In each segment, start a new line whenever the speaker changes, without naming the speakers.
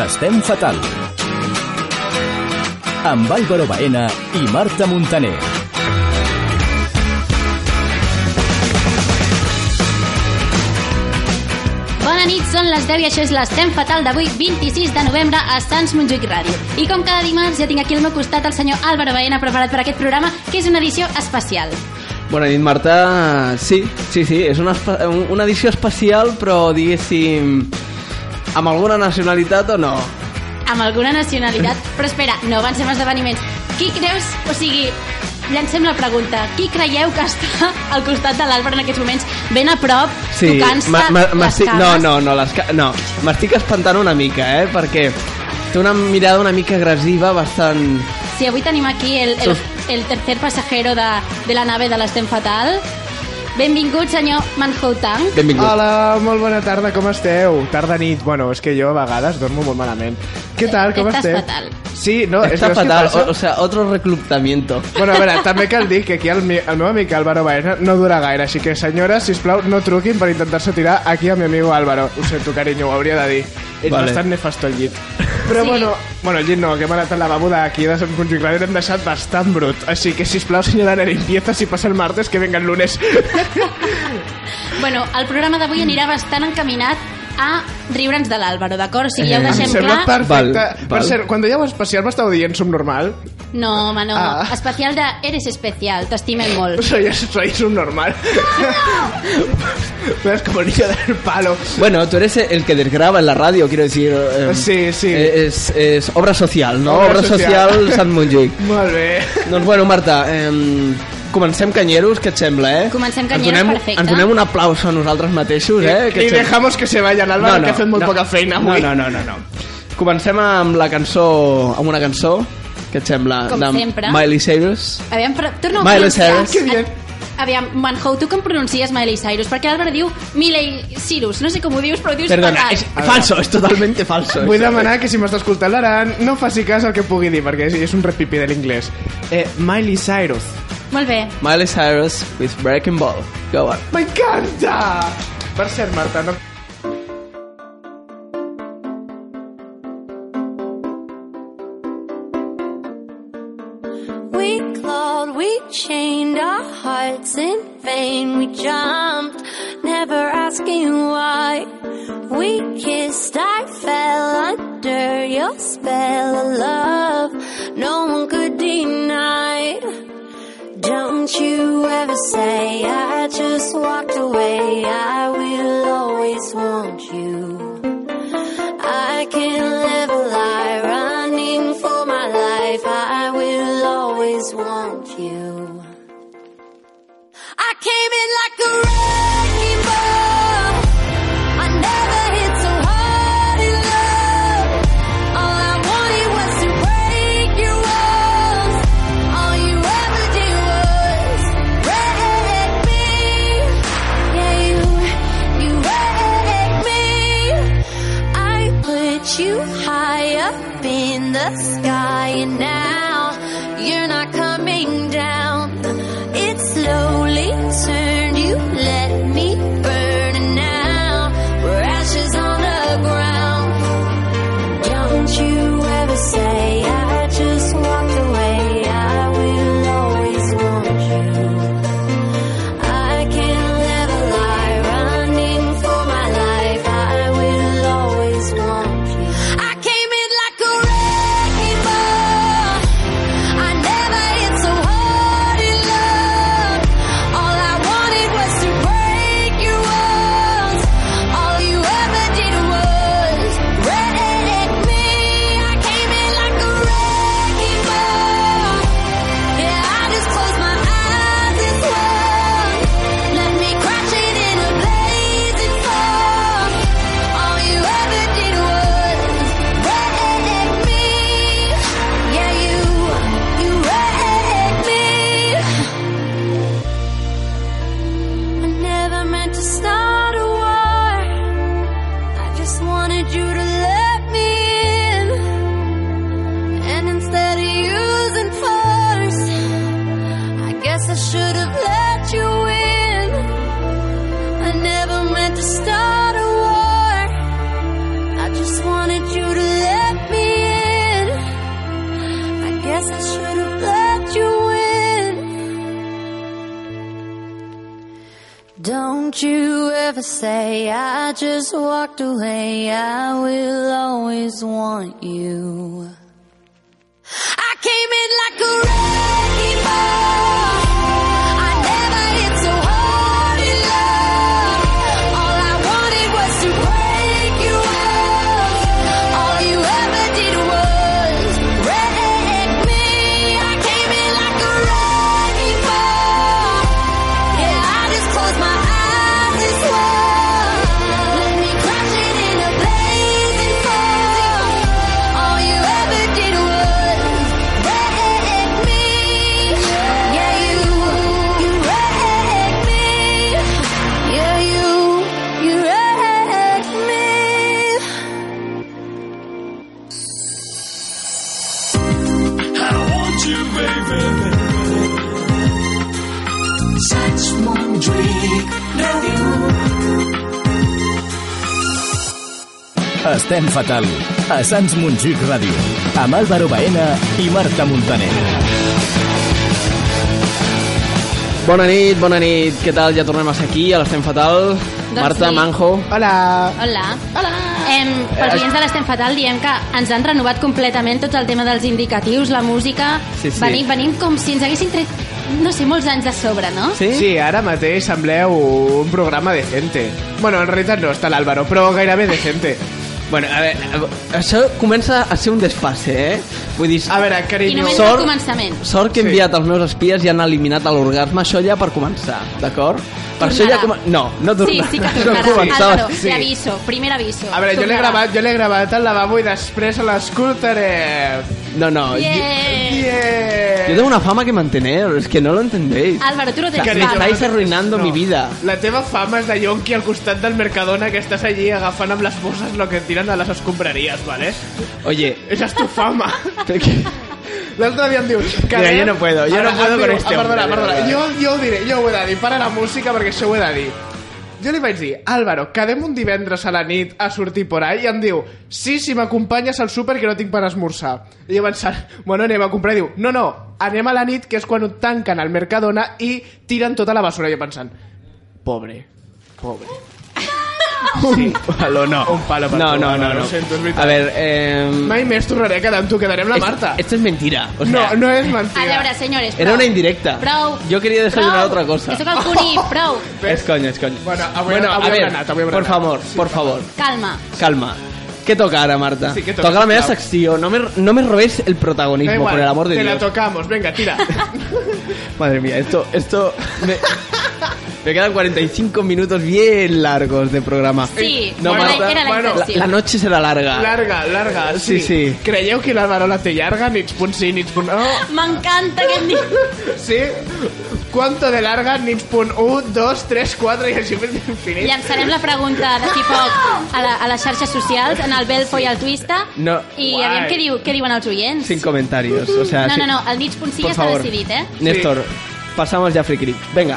Estem fatal. Amb Álvaro Baena i Marta Montaner.
Bona nit, són les 10 i això és l'Estem Fatal d'avui, 26 de novembre, a Sants Montjuïc Ràdio. I com cada dimarts, ja tinc aquí al meu costat el senyor Álvaro Baena preparat per aquest programa, que és una edició especial.
Bona nit, Marta. Sí, sí, sí, és una, espe- un- una edició especial, però diguéssim... Amb alguna nacionalitat o no?
Amb alguna nacionalitat, però espera, no avancem esdeveniments. Qui creus, o sigui, llancem la pregunta, qui creieu que està al costat de l'Àlvaro en aquests moments, ben a prop, tocant-se
ma- ma-
les
m'estic- No,
cames?
no, no, les ca... no. M'estic espantant una mica, eh? Perquè té una mirada una mica agressiva, bastant...
Sí, avui tenim aquí el, el, el tercer passajero de, de la nave de l'Estem Fatal. Benvingut, senyor Manhou Tang.
Benvingut.
Hola, molt bona tarda, com esteu? Tarda nit, bueno, és que jo a vegades dormo molt malament. Què tal, com
Estàs
esteu?
fatal.
Sí, no, és
Està
que
fatal,
Passa?
o, o sea, otro reclutamiento.
Bueno, a veure, també cal dir que aquí el, mi, el meu amic Álvaro Baena no dura gaire, així que senyores, si plau, no truquin per intentar-se tirar aquí a mi amigo Álvaro. Ho sento, carinyo, ho hauria de dir. Ell
Vale.
vale. bastant nefasto al llit. Però
Sí.
bueno, bueno, al llit no, que hem anat al lavabo d'aquí de Sant Montjuïc Ràdio i l'hem deixat bastant brut. Així que, sisplau, senyora de limpieza, si passa el martes, que venga el lunes.
Bueno, el programa d'avui anirà bastant encaminat a riure'ns de l'Àlvaro, d'acord? O
Eh,
sigui, ja ho
Em
deixem
sembla
clar.
perfecte.
Val,
Per
val.
cert, quan dèieu especial m'estàu dient subnormal?
No, home, no.
Ah.
Especial de Eres especial, t'estimem molt.
Soy, soy subnormal. Pero es como niño del palo.
Bueno, tú eres el que desgraba en la radio, quiero decir... eh,
Sí, sí.
eh, Es, es obra social, no?
Obra
Obra, social,
social.
Sant Montjuïc.
Molt bé.
Doncs bueno, Marta, eh, comencem canyeros, què et sembla, eh?
Comencem canyeros,
ens donem,
perfecte.
Ens donem un aplauso a nosaltres mateixos,
y
eh? et sembla?
dejamos que se vayan al bar, que hacen muy
no.
poca feina
No,
avui.
no, no, no, no. Comencem amb la cançó, amb una cançó, que et sembla?
Com
de
sempre.
Miley Cyrus.
Aviam, però torna a
Miley
pronunciar. Ah,
Cyrus.
Que bien.
Aviam, Manhou, tu com pronuncies Miley Cyrus? Perquè l'Àlvaro diu Miley Cyrus. No sé com ho dius, però ho dius
Perdona,
fatal.
és falso, és totalment falso.
Vull demanar que si m'està escoltant l'Aran no faci cas al que pugui dir, perquè és, és un repipi de l'inglès. Eh, Miley Cyrus.
Molt bé.
Miley Cyrus with Breaking Ball. Go on.
M'encanta! Per cert, Marta, no...
We clawed, we chained our hearts in vain. We jumped, never asking why. We kissed, I fell under your spell of love. No one could deny. Don't you ever say I just walked away. I will always want you. I can live a lie running for my life. I will always want you. I came in like a wrecking I never hit so hard in love. All I wanted was to break your walls. All you ever did was wreck me. Yeah, you, you wrecked Don't you ever say I just walked away. I will always want you. I came in like a wrecking ball. I never hit so hard in love. All I wanted was to break you up. All you ever did was wreck me. I came in like a wrecking ball. Yeah, I just closed my eyes as well. Let me crashing in a blazing fall. All you ever did was wreck me. Yeah, you, you wrecked me. Yeah, you, you wrecked me.
I want you, baby. Such one drink, no you.
Estem fatal. A Sants Montjuïc Ràdio. Amb Álvaro Baena i Marta Montaner.
Bona nit, bona nit, què tal? Ja tornem a ser aquí, a l'Estem Fatal.
Doncs
Marta,
sí.
Manjo. Ah.
Hola!
Hola. Hola. Em, per
Eh,
clients de l'Estem Fatal diem que ens han renovat completament tot el tema dels indicatius, la música...
Sí, sí.
Venim, venim com si ens haguessin tret, no sé, molts anys de sobre, no?
Sí?
Sí, ara mateix sembleu un programa decente. Bueno, en realitat no, està l'Àlvaro, però gairebé decente.
Bueno, a veure, a veure, això comença a ser un despasse, eh? Vull dir,
A eh, veure,
I
carinyo...
només
Sort.
al començament.
Sort que he
Sí.
enviat els meus espies i han eliminat l'orgasme, això ja per començar, d'acord? Per això
Tornarà.
ja com... No, no
Sí,
tornarà.
sí que
No
tornarà.
començava.
Álvaro,
Sí.
sí. aviso, primer aviso.
A veure, jo l'he
Tornarà.
gravat, jo l'he gravat al lavabo i després a l'escoltaré.
No, no, jo,
Yeah.
Yeah.
jo tengo una fama que mantener, es que no lo entendéis.
Álvaro, tu no tens
Que
Cariño,
fama.
estáis arruinando mi vida.
La teva fama és de yonqui al costat del Mercadona que estàs allí agafant amb les bosses lo que et tiren a les escombraries, ¿vale?
Oye,
Esa és tu fama.
pero que-
L'altre dia em dius... "Caram".
yo no puedo, yo
Ara,
no puedo
em
con
diu,
este
"Ah, Perdona,
hombre, de
perdona,
verdad".
jo, jo ho diré, jo ho he de dir. Para la música perquè això ho he de dir. Jo li vaig dir, Álvaro, quedem un divendres a la nit a sortir por ahí, i em diu, sí, si m'acompanyes al súper que no tinc per esmorzar. I jo pensant, bueno, anem a comprar, I diu, no, no, anem a la nit, que és quan ho tanquen al Mercadona i tiren tota la basura. I jo pensant, pobre, pobre. Un palo no. Un palo per
no,
tu,
no, no,
Álvaro,
no.
Ho sento, és veritat.
A ver, eh...
Mai més tornaré a quedar amb tu, quedaré amb la Marta.
Esto es mentira. O sea,
No, no és mentida.
A veure, senyores, prou.
Era una indirecta.
Prou.
Yo quería desayunar
Prou.
otra cosa.
Que sóc el cuní, prou.
Es coño, es coño.
Bueno, avui- avui
a
hem
ver,
anat, avui hem
por
anat.
favor, por favor.
Calma.
Calma. ¿Qué toca ahora, Marta?
Sí, ¿qué toca?
toca? la media
Claro.
sección. No me, no me robéis el protagonismo,
Da igual,
por el amor de
te
Dios.
la tocamos, venga, tira.
Madre mía, esto, esto me, me quedan 45 minutos bien largos de programa.
Sí,
No,
era,
Marta,
era la
bueno,
La,
intenció.
la noche será larga.
larga, larga, sí.
Ah. Sí, sí.
Creieu que l'Àlvaro la té llarga? Nits punt sí, nits punt no.
M'encanta aquest dit.
Sí? Quanto de larga? Nits punt 1, 2, 3, 4 i així fins infinit.
Llançarem la pregunta d'aquí poc a, la, a les xarxes socials, en el Belfo i el Twista,
No.
i
Guai.
aviam què, diu, què diuen els oients.
Sin comentarios. O sea,
No,
sí.
no, no, el nits.sí
Por
ja està
favor.
decidit, eh?
Néstor, pasamos ya a Free Creek. Venga.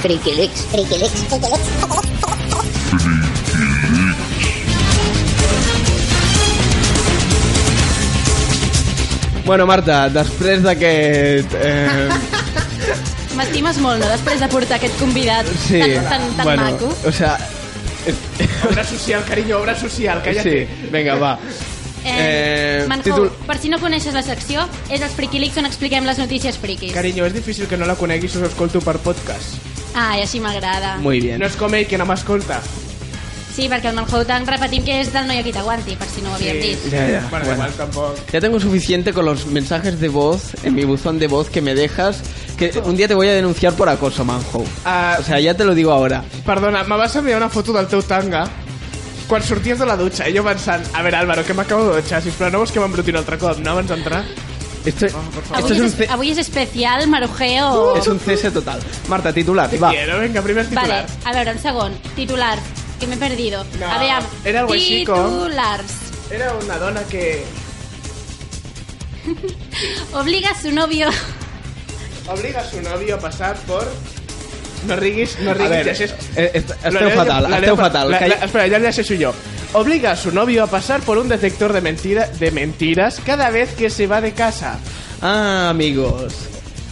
Bueno, Marta, després d'aquest... Eh,
M'estimes molt, no?, després de portar aquest convidat
sí,
tan, tan, tan
bueno,
maco.
o sea,
Obra social, carinyo, obra social,
sí,
cállate.
venga, va.
Eh,
eh,
Manjou,
títol-
per si no coneixes la secció, és els Friquilics on expliquem les notícies friquis.
Carinyo, és difícil que no la coneguis si us escolto per podcast.
Ai, així m'agrada.
Muy bien.
No és com ell, que no m'escolta.
Sí, perquè el Manjou tan repetim que és del noi aquí t'aguanti, per si no ho havíem dit.
Ya, ya,
Bueno,
bueno.
igual, tampoc.
Ya tengo suficiente con los mensajes de voz en mi buzón de voz que me dejas. Que un día te voy a denunciar por acoso, manjo.
Ah.
o sea, ya te lo digo ahora.
Perdona, me vas enviar una foto del teu tanga quan sorties de la dutxa i jo pensant, a veure, Álvaro, que m'acabo de dutxar, sisplau, no vols que m'embruti un altre cop, no, abans d'entrar?
Esto, esto
Avui,
es, un
és,
ce-
es- avui és especial, marujeo.
es un cese total. Marta, titular,
Te
va.
quiero, venga, primer titular.
Vale, a veure, un segon. Titular, que m'he perdido.
No,
a veure,
era algo així com-
titulars.
Era una dona que
Obliga a su novio...
obliga a su novio a pasar por... No riguis, no
A
riguis,
ver,
llegeix-
eh, est-
Lo
esteu
leo yo-
fatal,
la leo
esteu
pa-
fatal.
la-
que
la-
hay-
espera, ya le soy yo. Obliga a su novio a pasar por un detector de, mentira, de mentiras cada vez que se va de casa.
Ah, amigos.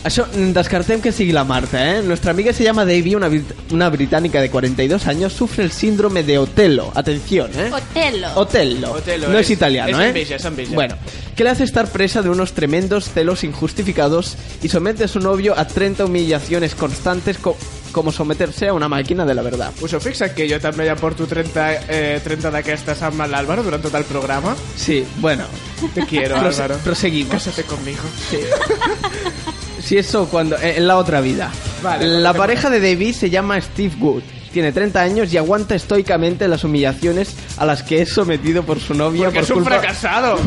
Això mm, descartem que sigui la Marta, ¿eh? Nuestra amiga se llama Davy, una, brit- una británica de 42 años, sufre el síndrome de Otelo. Atención, ¿eh?
Otelo.
Otello.
Otello,
No es,
es-
italiano,
es
¿eh?
envidia, es envidia.
Bueno, que le hace estar presa de unos tremendos celos injustificados y somete a su novio a 30 humillaciones constantes co- como someterse a una máquina de la verdad.
Us heu fixat Pues que jo també ja porto 30, eh, 30 d'aquestes amb l'Àlvaro durant tot el programa?
Sí, bueno.
Te quiero,
Prose-
Álvaro.
proseguimos.
Cásate conmigo.
Si eso cuando eh, en la otra vida.
Vale,
la
perfecto.
pareja de David se llama Steve Good. Tiene 30 años y aguanta estoicamente las humillaciones a las que es sometido por su novia
Porque
por
es un
culpa
fracasado.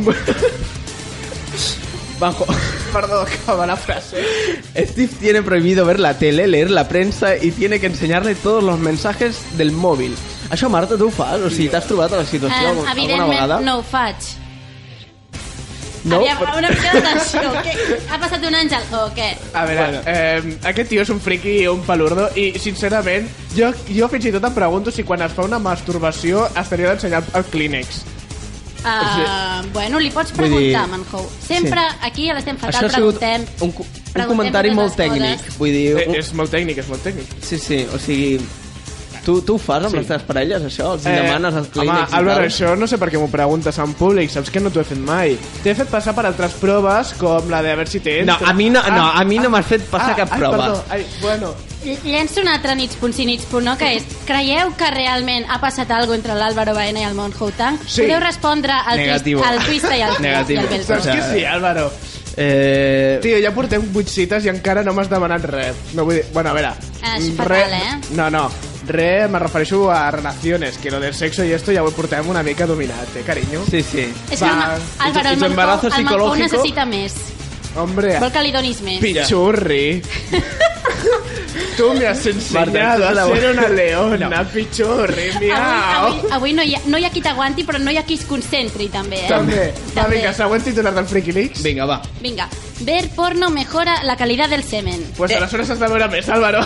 bajo
Perdó, acaba la frase.
Steve tiene prohibido ver la tele, leer la prensa y tiene que enseñarle todos los mensajes del móvil. Això, Marta, tu ho fas? O sigui, t'has trobat a la situació
Um,
alguna vegada?
evidentment no ho faig.
No,
Aviam,
però-
una mica d'atenció. Què? Ha passat un àngel o què?
A veure,
Bueno.
eh, aquest tio és un friqui i un palurdo i, sincerament, jo, jo fins i tot em pregunto si quan es fa una masturbació estaria d'ensenyar el clínex.
Uh, bueno, li pots
Vull
preguntar,
dir-
Manhou. Sempre aquí a l'Estem Fatal
Això ha sigut
preguntem...
un, co- un
preguntem
comentari
totes
molt
les coses.
tècnic. Vull dir,
Eh,
un-
és molt tècnic, és molt tècnic.
Sí, sí, o sigui... Tu, tu ho fas amb
Sí. Eh,
les teves parelles, això? Els demanes als
home,
clínics
Álvaro,
i tal?
això no sé per què m'ho preguntes en públic, saps que no t'ho he fet mai. T'he fet passar per altres proves, com la de a veure si tens... Ah,
No, a mi no- no, a mi no m'has fet passar cap
ai,
prova.
Perdó, ai, bueno,
Llenço un altre nits punt sí, nits punt no, que és creieu que realment ha passat alguna entre l'Àlvaro Baena i el Monhou Tang?
Sí.
Podeu respondre al
Negativo.
Twist, al twist i al,
Negativo.
i al Belcó.
saps
O
que
sea,
sí, Álvaro?
Eh...
Tio, ja portem 8 cites i encara no m'has demanat res. No vull dir... Bueno, a veure...
Ah, és
mm,
fatal,
re-
eh?
No, no. Re, me refereixo a relaciones, que lo del sexo i esto ja ho portem una mica dominat, eh, carinyo?
Sí, sí.
És que el, Ma-
Va,
Álvaro, el
tu embarazo
Manhou, el Manhou
psicológico-
necessita més.
Hombre,
Vol que li donis més.
pichurri. tu me has enseñado
Marta,
a
la-
ser una leona, pichurri, miau.
Avui, avui, avui no, hi ha, no hi ha qui t'aguanti, però no hi ha qui es concentri, també, eh?
També. Va, vinga, següent titular del Freaky Leaks.
Vinga, va.
Vinga. Ver porno mejora la calidad del semen.
Pues aleshores has de veure més, Álvaro.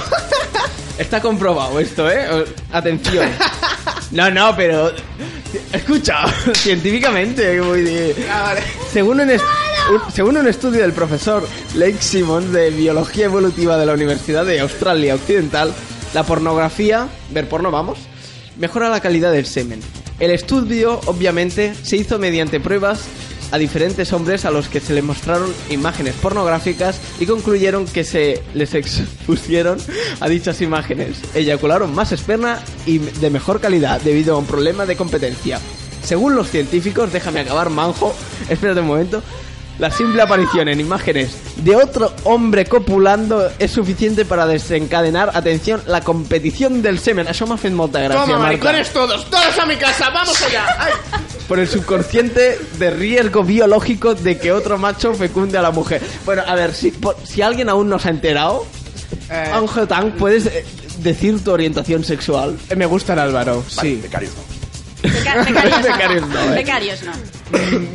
Está comprobado esto, ¿eh? O- Atención. No, no, pero... Escucha, científicamente, voy de...
Ah, vale.
Según un, est- un- según un estudio del profesor Lake Simon de Biología Evolutiva de la Universidad de Australia Occidental, la pornografía, ver porno vamos, mejora la calidad del semen. El estudio, obviamente, se hizo mediante pruebas a diferentes hombres a los que se les mostraron imágenes pornográficas y concluyeron que se les expusieron a dichas imágenes. Eyacularon más esperma y de mejor calidad debido a un problema de competencia. Según los científicos, déjame acabar, manjo. Espérate un momento. La simple aparición en imágenes de otro hombre copulando es suficiente para desencadenar, atención, la competición del semen. Això m'ha fet molta gràcia,
Toma,
Marta.
maricones todos, todos a mi casa, vamos allá. Ai.
Por el subconsciente de riesgo biológico de que otro macho fecunde a la mujer. Bueno, a ver, si, por- si alguien aún no se ha enterado,
Eh,
Ángel Tang, ¿puedes eh, decir tu orientación sexual?
Me gusta el Álvaro, sí.
Becarios no.
Beca- Becarios,
Becarios
no.
no, eh?
Becarios no.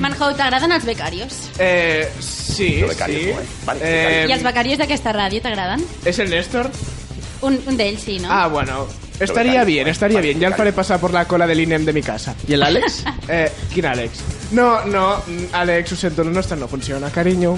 Manhou, t'agraden els becarios?
Eh, sí,
Pero becarios
sí.
no, eh. Vale,
Eh,
I els becarios d'aquesta ràdio t'agraden?
¿Es el Néstor?
Un, un d'ells, sí, no?
Ah, bueno. Estaría
becarios,
bien,
eh.
estaría
Vale,
bien. Ya le faré
becarios.
pasar por la cola del INEM de mi casa.
¿Y el Alex?
Eh, ¿Quién, Alex? No, no, mm, Alex, su centro no está, no funciona, cariño.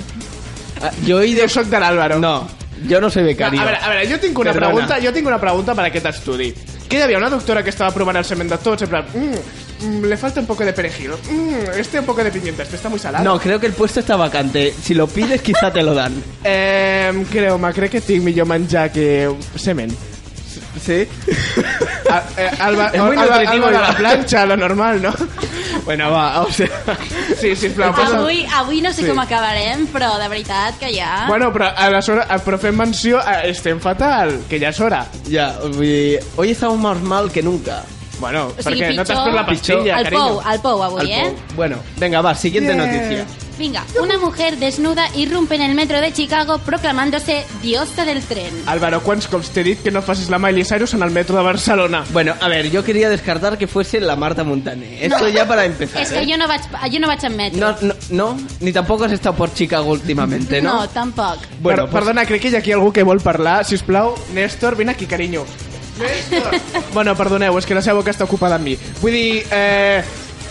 Ah, Yo he ido...
Yo soy del Álvaro.
No, yo no soy becario.
No, a veure, a veure, jo tinc una
Perdona.
pregunta, jo tinc una pregunta per aquest estudi. Que hi havia una doctora que estava provant el semen de tots, en plan, mm, mm, le falta un poco de perejil, mm, este un poco de pimienta, este está muy salado.
No, creo que el puesto está vacante. Si lo pides, quizá te lo dan.
Eh, creu-me, crec que tinc millor menjar que semen.
¿Sí?
A- eh, Alba,
Es muy
Alba-
nutritivo,
Alba de
Alba.
la plancha, lo normal, ¿no?
Bueno, va, o sea...
Sí, sisplau. passa-
Avui, avui no sé
Sí.
com acabarem, però de veritat que ja...
Bueno, però, a les hores, però fem menció a eh, Estem Fatal, que ja és hora.
Ya, hoy hoy estamos más mal que nunca.
Bueno,
O sigui,
perquè no t'has
pitjor-
pres la pastilla,
al pou,
carinyo.
al pou avui,
Al
eh?
po- Bueno, venga, va, siguiente
Yeah.
noticia.
Vinga, una mujer desnuda irrumpe en el metro de Chicago proclamándose diosa del tren.
Álvaro, quants cops t'he dit que no facis la Miley Cyrus en el metro de Barcelona?
Bueno, a ver, yo quería descartar que fuese la Marta Montané. Esto ya para empezar.
És que
¿eh?
jo no vaig, jo no vaig en metro.
no, no, no, ni tampoco has estado por Chicago últimamente, ¿no?
no tampoc.
Bueno,
per,
pues-
Perdona, crec que hi ha aquí algú que vol parlar. Si us plau, Néstor, vine aquí, carinyo. Néstor! bueno, perdoneu, és que la seva boca està ocupada amb mi. Vull dir... Eh...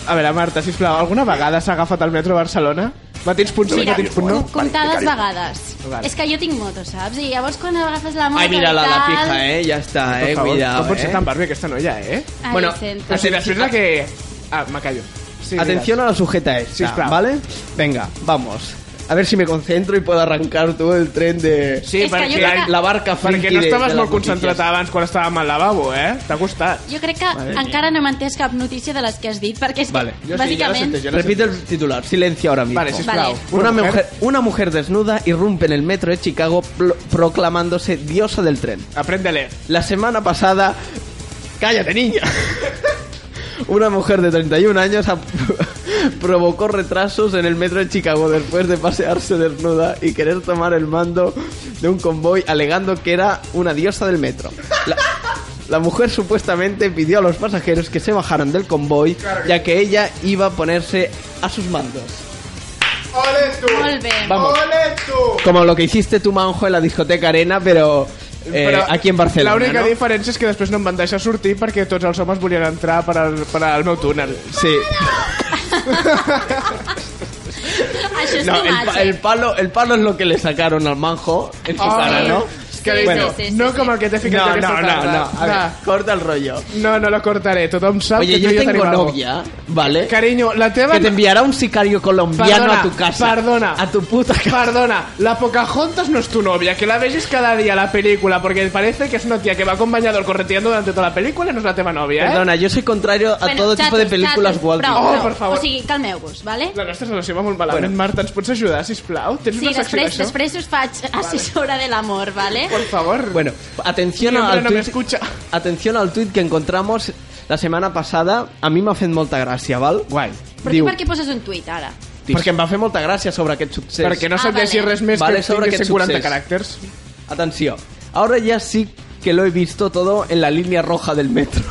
A veure, Marta, si us plau, alguna vegada s'ha agafat el metro a Barcelona? Matins punt sí,
Mira,
matins punt no.
com- comptades
Vale, becari.
vegades.
Vale.
És que jo tinc moto, saps? I llavors quan agafes la moto...
Ay, mírala, la pija, eh, ya está, eh,
Per favor,
cuidado,
no pot ser
eh.
tan Barbie aquesta noia, eh?
Ai,
Bueno,
ho sento.
O sigui, després la que... Ah, me callo. Sí,
Atención a la sujeta esta,
Sisplau.
¿vale? Venga, vamos. A ver si me concentro y puedo arrancar todo el tren de...
Sí,
És que
perquè,
jo crec que-
La barca
perquè
friki
no
de-
estaves
de les
molt concentrat
notícies.
abans quan estàvem al lavabo, eh? T'ha costat.
Jo crec que encara no m'he entès cap notícia de les que has dit, perquè és
Vale.
que, bàsicament...
Jo no sé-
Repite el titular, silencio ahora mismo.
Vale, sisplau.
Vale.
Una mujer, una mujer desnuda irrumpe en el metro de Chicago pl- proclamándose diosa del tren.
Aprende-le.
La semana pasada... ¡Cállate, niña! Una mujer de 31 años ap- provocó retrasos en el metro de Chicago después de pasearse desnuda y querer tomar el mando de un convoy alegando que era una diosa del metro. La, la mujer supuestamente pidió a los pasajeros que se bajaran del convoy ya que ella iba a ponerse a sus mandos.
Ole tu!
Molt bé.
Vamos.
Ole tu!
Como lo que hiciste tu manjo en la discoteca Arena, pero, eh, aquí en Barcelona.
L'única
¿no?
diferència és que després no em van deixar sortir perquè tots els homes volien entrar per al, per al meu túnel.
Sí.
Això és
No,
too
el,
much,
pa-
eh.
el palo, el palo es lo que le sacaron al manjo en su cara, Pues ¿no?
És que dic,
Bueno.
no, no com el que t'he ficat
no, no,
aquesta
no,
tarda.
no, a ver, corta el rollo.
no, no lo cortaré, tothom sap
Oye,
que
yo
tu i jo
tengo
tenim algo.
novia, ¿vale?
Carinyo, la teva...
Que te enviará un sicario colombiano
Perdona,
a tu casa.
perdona.
A tu puta casa.
Perdona, la Pocahontas no es tu novia, que la veis cada día la película, porque parece que es una tía que va acompañado al correteando durante toda la película y no es la tema novia, ¿eh?
Perdona, yo soy contrario a
Bueno,
todo tipo de
xatos,
películas
xatos,
Walt
prou,
Oh,
Disney.
prou.
per favor.
O sigui, calmeu-vos, vale?
La nostra relació va molt malament,
Bueno.
Marta, ens pots ajudar, sisplau? Tens
Sí,
una secció
després,
d'això?
després us faig assessora de l'amor, vale?
Por favor.
Bueno, atención
Mi hombre
al
no me
tuit-
escucha.
atención al tuit que encontramos la semana pasada. A mi m'ha fet molta gràcia, val?
Guai.
Però tu
Diu,
per què poses un tuit ara?
perquè em va fer molta gràcia sobre aquest succés.
Perquè no
Ah,
sap
vale.
llegir res més
Vale,
que
sobre
tingui
aquest
40
succés.
caràcters.
Atención. Ahora ya sí que lo he visto todo en la línea roja del metro.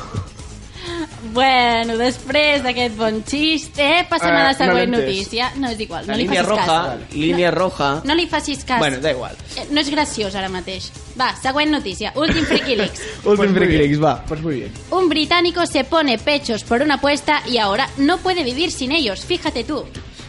Bueno, després d'aquest bon xiste, passem
Eh,
a la
no l'he
següent
entès.
notícia. No, és igual,
La
no li
línea
facis
roja,
cas.
línea roja.
No li facis cas.
Bueno, da igual.
Eh, No és graciós ara mateix. Va, següent notícia. Últim Friki Leaks.
Ultimate
muy bien.
Clics, va.
Pues muy bien.
Un británico se pone pechos por una apuesta y ahora no puede vivir sin ellos. Fíjate tú.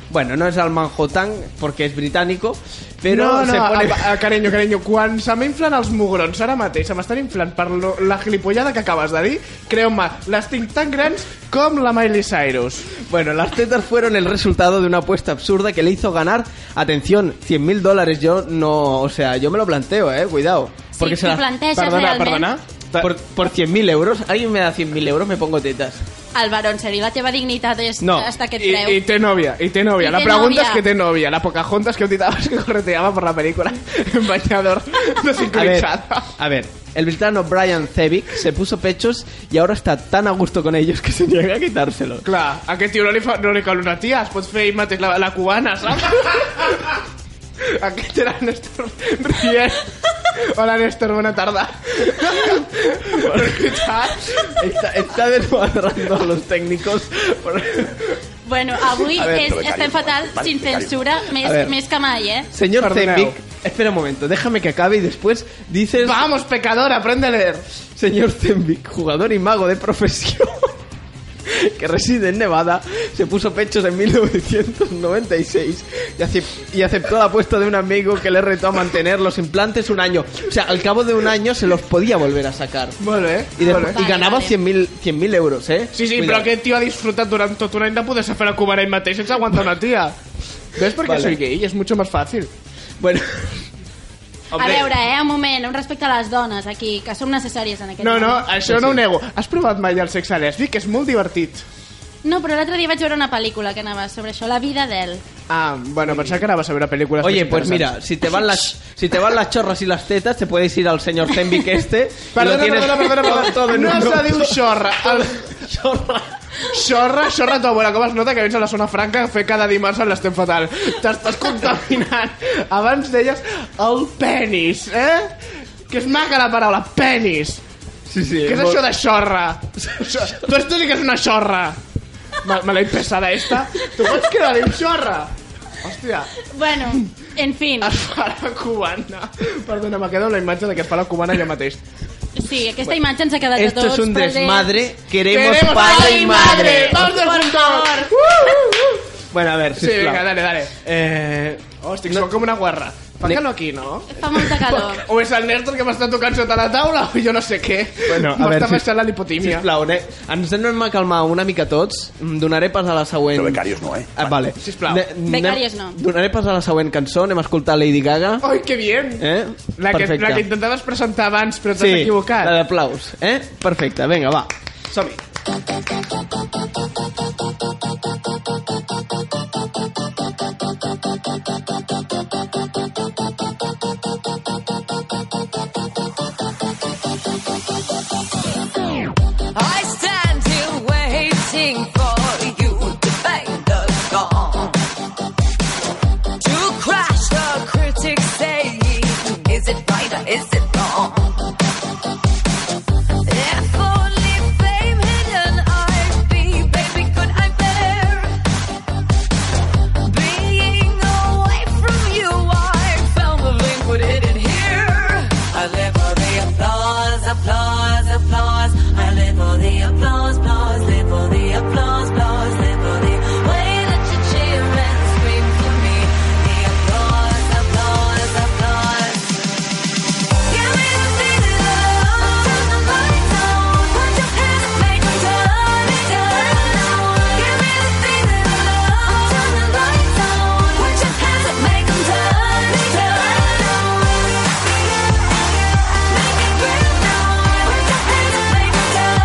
Bueno, no es al Manhattan porque es británico, pero
no, no,
se pone...
a, a, carinyo, carinyo, quan se m'inflen els mugrons ara mateix, se m'estan inflant per lo, la gilipollada que acabes de dir, creu-me, les tinc tan grans com la Miley Cyrus.
Bueno, las tetas fueron el resultado de una apuesta absurda que le hizo ganar, atención, 100 mil dólares. Yo no, o sea, yo me lo planteo, eh, cuidado.
Sí,
Porque se
t'ho
la-
planteges
Perdona,
realment.
perdona.
Por, por 100 mil euros, alguien me da 100 mil euros, me pongo tetas.
Álvaro, en serio, la teva dignitat és
No.
hasta que et
I,
creu.
I té nòvia, i té
I
nòvia. La
té
pregunta
nòvia.
és que té nòvia. La Pocahontas que ho dit abans que correteava per la pel·lícula en banyador
A ver,
desincronitzada.
a ver, el británico Brian Zevic se puso pechos y ahora está tan a gusto con ellos que se niega a quitárselos.
Clar, a aquest tio no li, fa, no li cal una tia, es pot fer ell mateix la, la cubana, saps? aquest era Néstor Rient. Hola, Néstor, bona tarda. Veritat?
Está, está desmadrando a los técnicos. por-
Bueno, avui
A ver,
és,
becari,
estem fatal,
becari,
sin
becari.
censura, més,
A ver.
més que mai, eh?
Señor
Perdoneu.
Zevic, espera un momento, déjame que acabe y después dices...
Vamos, pecador, aprende a leer.
Señor Zembic, jugador y mago de profesión que reside en Nevada, se puso pechos en 1996 y, acep- y aceptó la apuesta de un amigo que le retó a mantener los implantes un año. O sea, al cabo de un año se los podía volver a sacar.
Molt bé,
Y, despu-
molt bé.
y ganaba
Vale,
100.000 100.000 euros, ¿eh?
Sí, sí,
Cuidado.
però aquest tio ha disfrutat durant tot un any de poder-se fer la cubana ell mateix sense aguantar una tia. ¿Ves por qué
Vale.
soy gay? Es mucho más fácil.
Bueno,
A veure, eh, un moment, un respecte a les dones aquí, que som necessàries en aquest
No, no,
moment.
això no ho nego. Has provat mai el sexe lèsbic? És molt divertit.
No, però l'altre dia vaig veure una pel·lícula que anava sobre això, la vida d'ell.
Ah, bueno, pensaba que anaves a veure pel·lícules
oye,
més
pues mira,
interessants.
si te van las si te van las chorras y las tetas, te puedes ir al señor Zembic este. y lo
Perdona,
tienes
perdona, perdona, perdona.
todo en
no
uno.
se diu xorra. El... Xorra, xorra tu abuela. Com es nota que vens a la zona franca a fer cada dimarts en l'estem fatal. T'estàs contaminant. Abans deies el penis, eh? Que és maca la paraula, penis.
Sí, sí.
Què és
molt-
això de xorra? tu has dit que és una xorra. Me, me l'he pesada esta. Tu pots creure diu xorra? Hòstia,
Bueno, en fin,
es fa la cubana. Perdona, m'ha quedat la imatge de que es fa la cubana jo mateix.
sí, aquesta imatge ens ha quedat a
Esto
tots.
es un
perdent.
desmadre. Queremos,
Queremos
padre y madre.
¡Vamos del
Por
fundador!
favor.
¡Uh, uh, uh!
Bueno, a ver,
Sí,
sisplau.
vinga, dale, dale.
Eh,
Hosti,
No-
no... com una guarra. Fa
Ni-
calor aquí, no?
Fa molta calor.
O és el Néstor que m'està tocant sota la taula o jo no sé què.
Bueno, a
M'està
veure,
baixant la lipotímia.
sisplau, ne, ens anem a calmar una mica tots. Mm, Donaré pas a la següent...
No, becarios no, eh?
Ah, vale.
Sisplau.
anem-
Becàries no.
Donaré pas a la següent cançó, anem a escoltar Lady Gaga.
Ai, que bien.
Eh?
La que,
Perfecte.
la que intentaves presentar abans, però t'has equivocat.
la d'aplaus, eh? Perfecte, vinga, va. Som-hi.
I stand here waiting for you to bang the gong. To crash the critics saying, is it right or is it wrong? If only fame hidden I'd be, baby, could I bear? Being away from you, I found the link, but it in here. I live for the applause, applause, applause. I live for the applause, applause, live for the applause, applause, live for the way that you cheer and scream for me. The applause, applause, applause. Give me the feeling of turn the lights on, put your hands and make 'em turn it down. Give me the feeling of turn the lights on, put your hands and make 'em turn it down. Make it real now, put your hands and make 'em turn it down.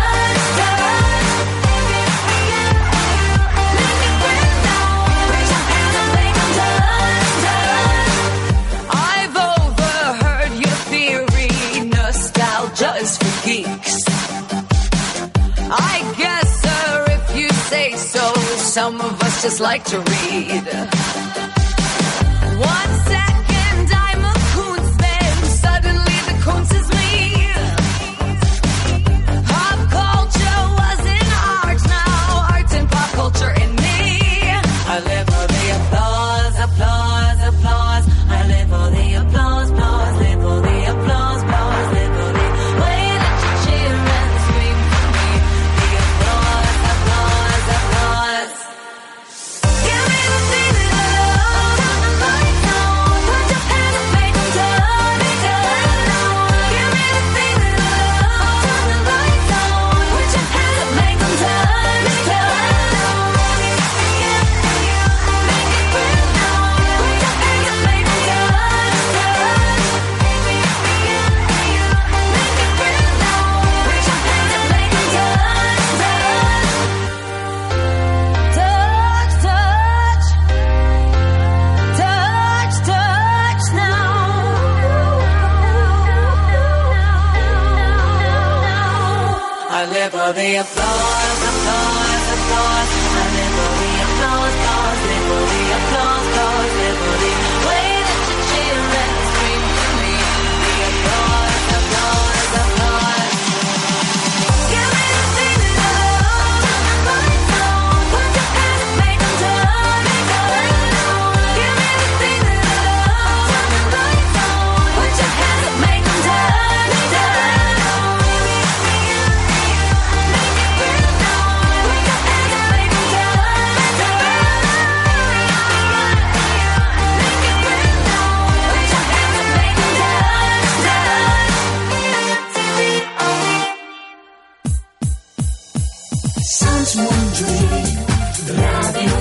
Make it real now, put your hands and make 'em turn it down. I've overheard your theory. Nostalgia is for geeks. I guess, sir, if you say so, some of us just like to read. One second, I'm a Koonsman. Suddenly, the Koons is me. Pop culture was in art, now art's in pop culture in me. I live for the applause, applause, applause. I live for the applause, applause, live for the applause, applause, live for the way that you cheer and scream for me. The applause, applause, applause. Give me the feeling of turn the lights on, put your hands and make 'em turn it down. Give me the feeling of turn the lights on, put your hands and make 'em turn it down. Make it real now, put your hands and make 'em turn it down. Make it real now, put your hands and make 'em turn it down. Touch, touch, touch, touch now. I live for the applause, applause, applause. I live for the applause, applause, live for the applause, applause, live for the way that you cheer and scream for me. The applause, applause, applause. Give me the feeling of turn the lights on, put your hands and make 'em turn it down. Give me the feeling of turn the lights on, put your hands and make 'em turn it down. Make it real now, put your hands and make 'em turn it down. Make it real now, put your hands and make 'em turn it down.
Sans Montjuïc Ràdio.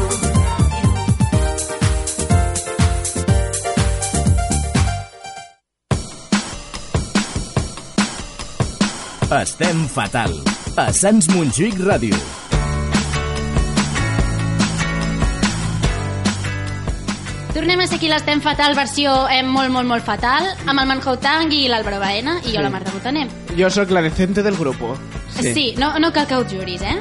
Estem fatal. A Sants Montjuïc Ràdio.
Tornem a ser aquí l'estem fatal, versió eh, molt, molt, molt fatal, amb el Manhou Tang i l'Àlvaro Baena i jo, la Marta Botaner.
Jo sóc la decente del grupo.
Sí, sí no, no cal que ho juris, eh?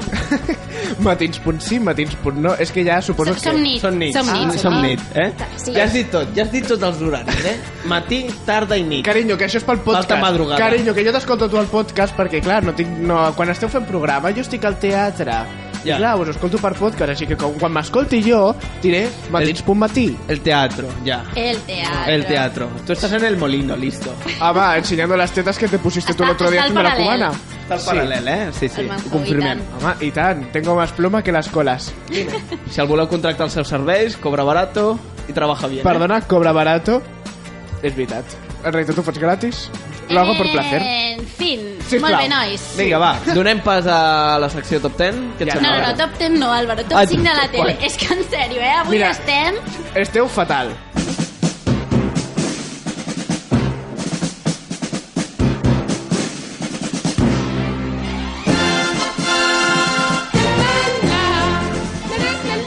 Matins.sí, matins.no. És que ja suposo
Som, som
que...
nit.
Som nit.
Som nit.
som nit, eh?
Sí.
Ja has dit tot, ja has dit tots els horaris, eh? Matí, tarda i nit.
Carinyo, que això és pel podcast.
Falta madrugada.
Carinyo, que jo t'escolto tu al podcast perquè, clar, no tinc, no, quan esteu fent programa jo estic al teatre.
Ja.
I clar, us escolto per podcast, així que com, quan m'escolti jo, diré matins.matí.
El teatro, ja.
El teatre.
El teatro. Tú estás en el molino, listo.
Ah, va, enseñando las tetas que te pusiste tú el
Està-
otro día
està
haciendo
al
la
paral·lel.
cubana.
Està al paral·lel, eh? Sí, sí.
El Manhou,
Ho confirmem.
i tant.
Home, i tant, tengo más pluma que las colas.
Si el voleu contractar els seus serveis, cobra barato i trabaja bien. eh?
Perdona, cobra barato. És veritat. En realitat ho fots gratis. Lo hago
Eh.
por placer.
En fin,
Sisplau.
molt bé, nois.
Eh? Vinga, va, donem pas a la secció top 10. Què et
Ja.
No,
sembla?
no, no, top 10 no, Álvaro, top
Ah,
5 de la tele.
bueno.
És que en sèrio, eh? Avui
Mira.
estem...
Esteu fatal.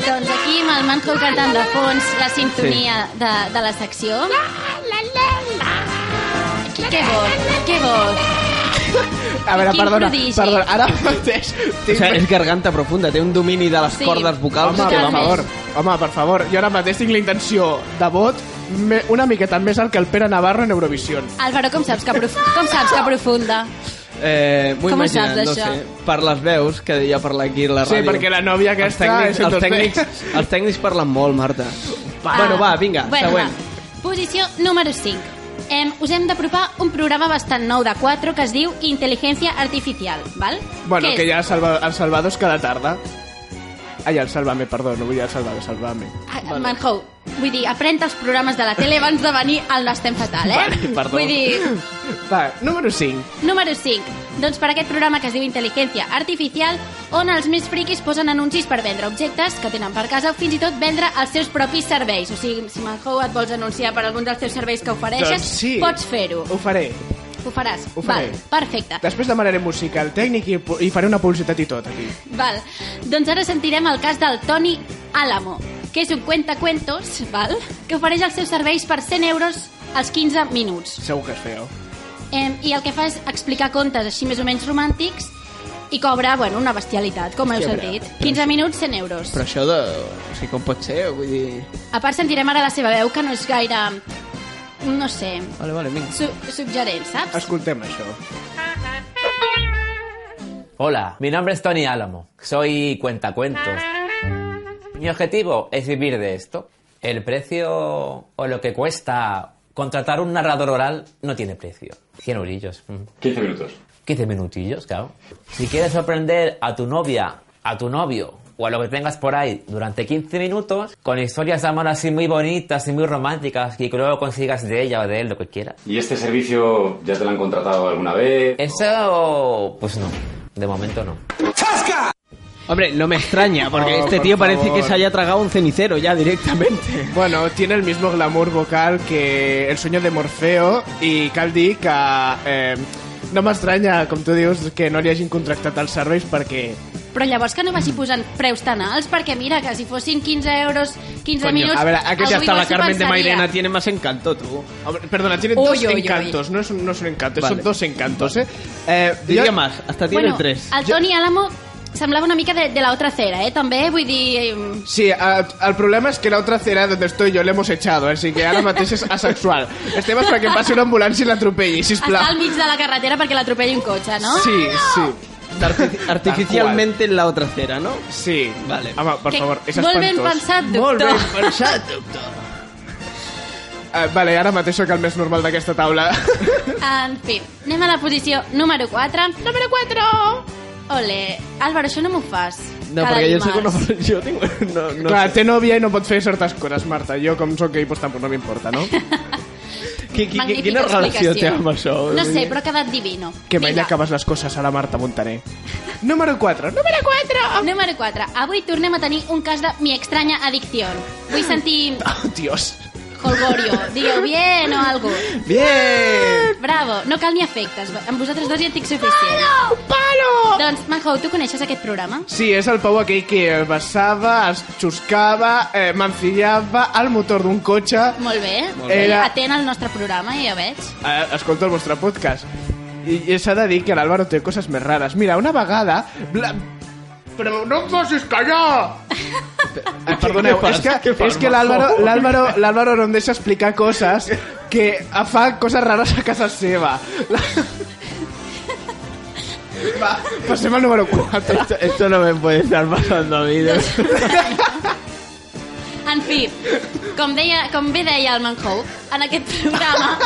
Doncs aquí amb el Manhole cantant de fons la sintonia de, de la secció. Què vol? Què vol?
A veure,
Quin
perdona,
prodigi.
perdona. Ara mateix...
O sigui, és garganta profunda, té un domini de les
Sí.
cordes vocals.
Home,
que
per
vamos.
Totalment.
favor. Home, per favor. Jo ara mateix tinc la intenció de vot me, una miqueta més alt que el Pere Navarro en Eurovisió.
Álvaro, com saps que, prof... com saps que profunda?
Eh, M'ho
Com ho
imagino,
saps,
no
això?
sé, per les veus que deia per aquí a la
Sí,
ràdio.
perquè la nòvia
els
aquesta...
tècnics,
és el
els,
dos
tècnics, els tècnics parlen molt, Marta. Va. Bueno, va, vinga,
Ah, bueno,
següent.
Va. Posició número 5. Em, us hem d'apropar un programa bastant nou de 4 que es diu Intel·ligència Artificial, val?
Bueno,
Què
que
és?
hi ha el salva, el Salvador és cada tarda. Ai, el Salvame, perdó, no vull dir el Salvador, Salvame.
Ah, Manhou, vull dir, aprèn els programes de la tele abans de venir al N'estem fatal, eh?
Vale, perdó.
Vull dir,
Va, número 5.
Número 5. Doncs per aquest programa que es diu Intel·ligència Artificial, on els més friquis posen anuncis per vendre objectes que tenen per casa o fins i tot vendre els seus propis serveis. O sigui, si Manhou et vols anunciar per algun dels teus serveis que ofereixes,
Doncs sí.
pots fer-ho.
Ho faré.
Ho faràs.
Ho faré.
Val, perfecte.
Després demanaré música al tècnic i, i faré una publicitat i tot, aquí.
Val. Doncs ara sentirem el cas del Tony Álamo, que és un cuentacuentos, val? que ofereix els seus serveis per 100 euros als 15 minuts.
Segur que és feo.
Eh, I el que fa és explicar contes així més o menys romàntics i cobra, bueno, una bestialitat, com heu
Hòstia, però-
sentit. 15 minuts, 100 euros.
Però això de... O sigui, com pot ser? Vull dir...
A part, sentirem ara la seva veu, que no és gaire... no sé...
Vale, vale, vinga.
Su suggerent, saps?
Escoltem això.
Hola, mi nombre es Tony Álamo, soy cuentacuentos. Mi objetivo es vivir de esto. El precio o lo que cuesta contratar un narrador oral no tiene precio. 100 eurillos. mm.
15 minutos.
15 minutillos, claro. Si quieres sorprender a tu novia, a tu novio o a lo que tengas por ahí durante 15 minutos, con historias de amor así muy bonitas y muy románticas y que luego consigas de ella o de él lo que quieras.
¿Y este servicio ya te lo han contratado alguna vez?
Eso, pues no. De momento no.
Hombre, no me extraña, porque
No,
este
por
tío parece
favor.
que se haya tragado un cenicero ya directamente.
Bueno, tiene el mismo glamour vocal que El sueño de Morfeo i cal dir que... Eh, no m'estranya, com tu dius, que no li hagin contractat els serveis perquè...
Però llavors que no vagi posant preus tan alts, perquè mira, que si fossin 15 euros, 15 minuts...
a ver, aquí ya
algú
está la
igual s'ho
Carmen de
pensaria.
Mairena, tiene más encanto, tú.
Home, Perdona, tienen
Ui,
dos
ui, ui.
encantos, No, es, un- no son encantos,
Vale.
son dos encantos, eh? eh
Diría
jo-
más, hasta tiene
Bueno,
tres.
el Toni Álamo semblava una mica de, de la otra cera, eh? També, vull dir... eh,
Sí, a- el problema és que la otra cera donde estoy yo le hemos echado, així que ara mateix és asexual. Estem esperant que passi una ambulància i l'atropelli,
Està al
sisplau.
mig de la carretera perquè l'atropelli un cotxe, no?
Sí, sí.
Artifici- Artificialmente en la otra cera, ¿no?
Sí.
Vale.
Home, per
Que-
favor, és espantós.
molt ben pensat,
Molt
doctor.
ben pensat, doctor. Eh, vale, ara mateix sóc el més normal d'aquesta taula.
En fi, anem a la posició número 4. Número 4! Ole, Álvaro, això no m'ho fas.
No,
cada
porque yo sé que
dimarts.
no- yo tengo... No, no
Clar,
sé.
té nòvia i no pot fer certes coses, Marta. Jo, com sóc gay, pues, tampoc no m'importa, no?
Qui- qui- qui-
Magnífica
Quina relació
explicació.
té amb això?
No sé, però ha quedat divino.
Que mai li
Vinga,
acabes les coses a la Marta Montaner. Número 4. Número 4!
Número 4. Avui tornem a tenir un cas de mi extraña adicción. Vull sentir
Oh, Dios.
Holgorio. Digueu bien o algo.
Bien!
Bravo, no cal ni efectes. Amb vosaltres dos ja en tinc suficient. Palo! Palo! Doncs, Manhou, tu coneixes aquest programa?
Sí, és el Pau aquell que el besava, es xuscava, eh, mancillava al motor d'un cotxe.
Molt bé.
Molt bé. Era-
Atent al nostre programa, ja veig.
Eh, escolto el vostre podcast. I, i s'ha de dir que l'Àlvaro té coses més rares. Mira, una vegada... Bla... Però no em facis callar! Eh, perdoneu,
Què fas?
és que,
Què fas,
és que
Marco?
l'Àlvaro l'Àlvaro- l'Àlvaro no em deixa explicar coses que fa coses rares a casa seva. Va, passem al número 4.
Esto, esto no me puede estar pasando a mí. de-
En fi, Com, deia, com bé deia el Manhou, en aquest programa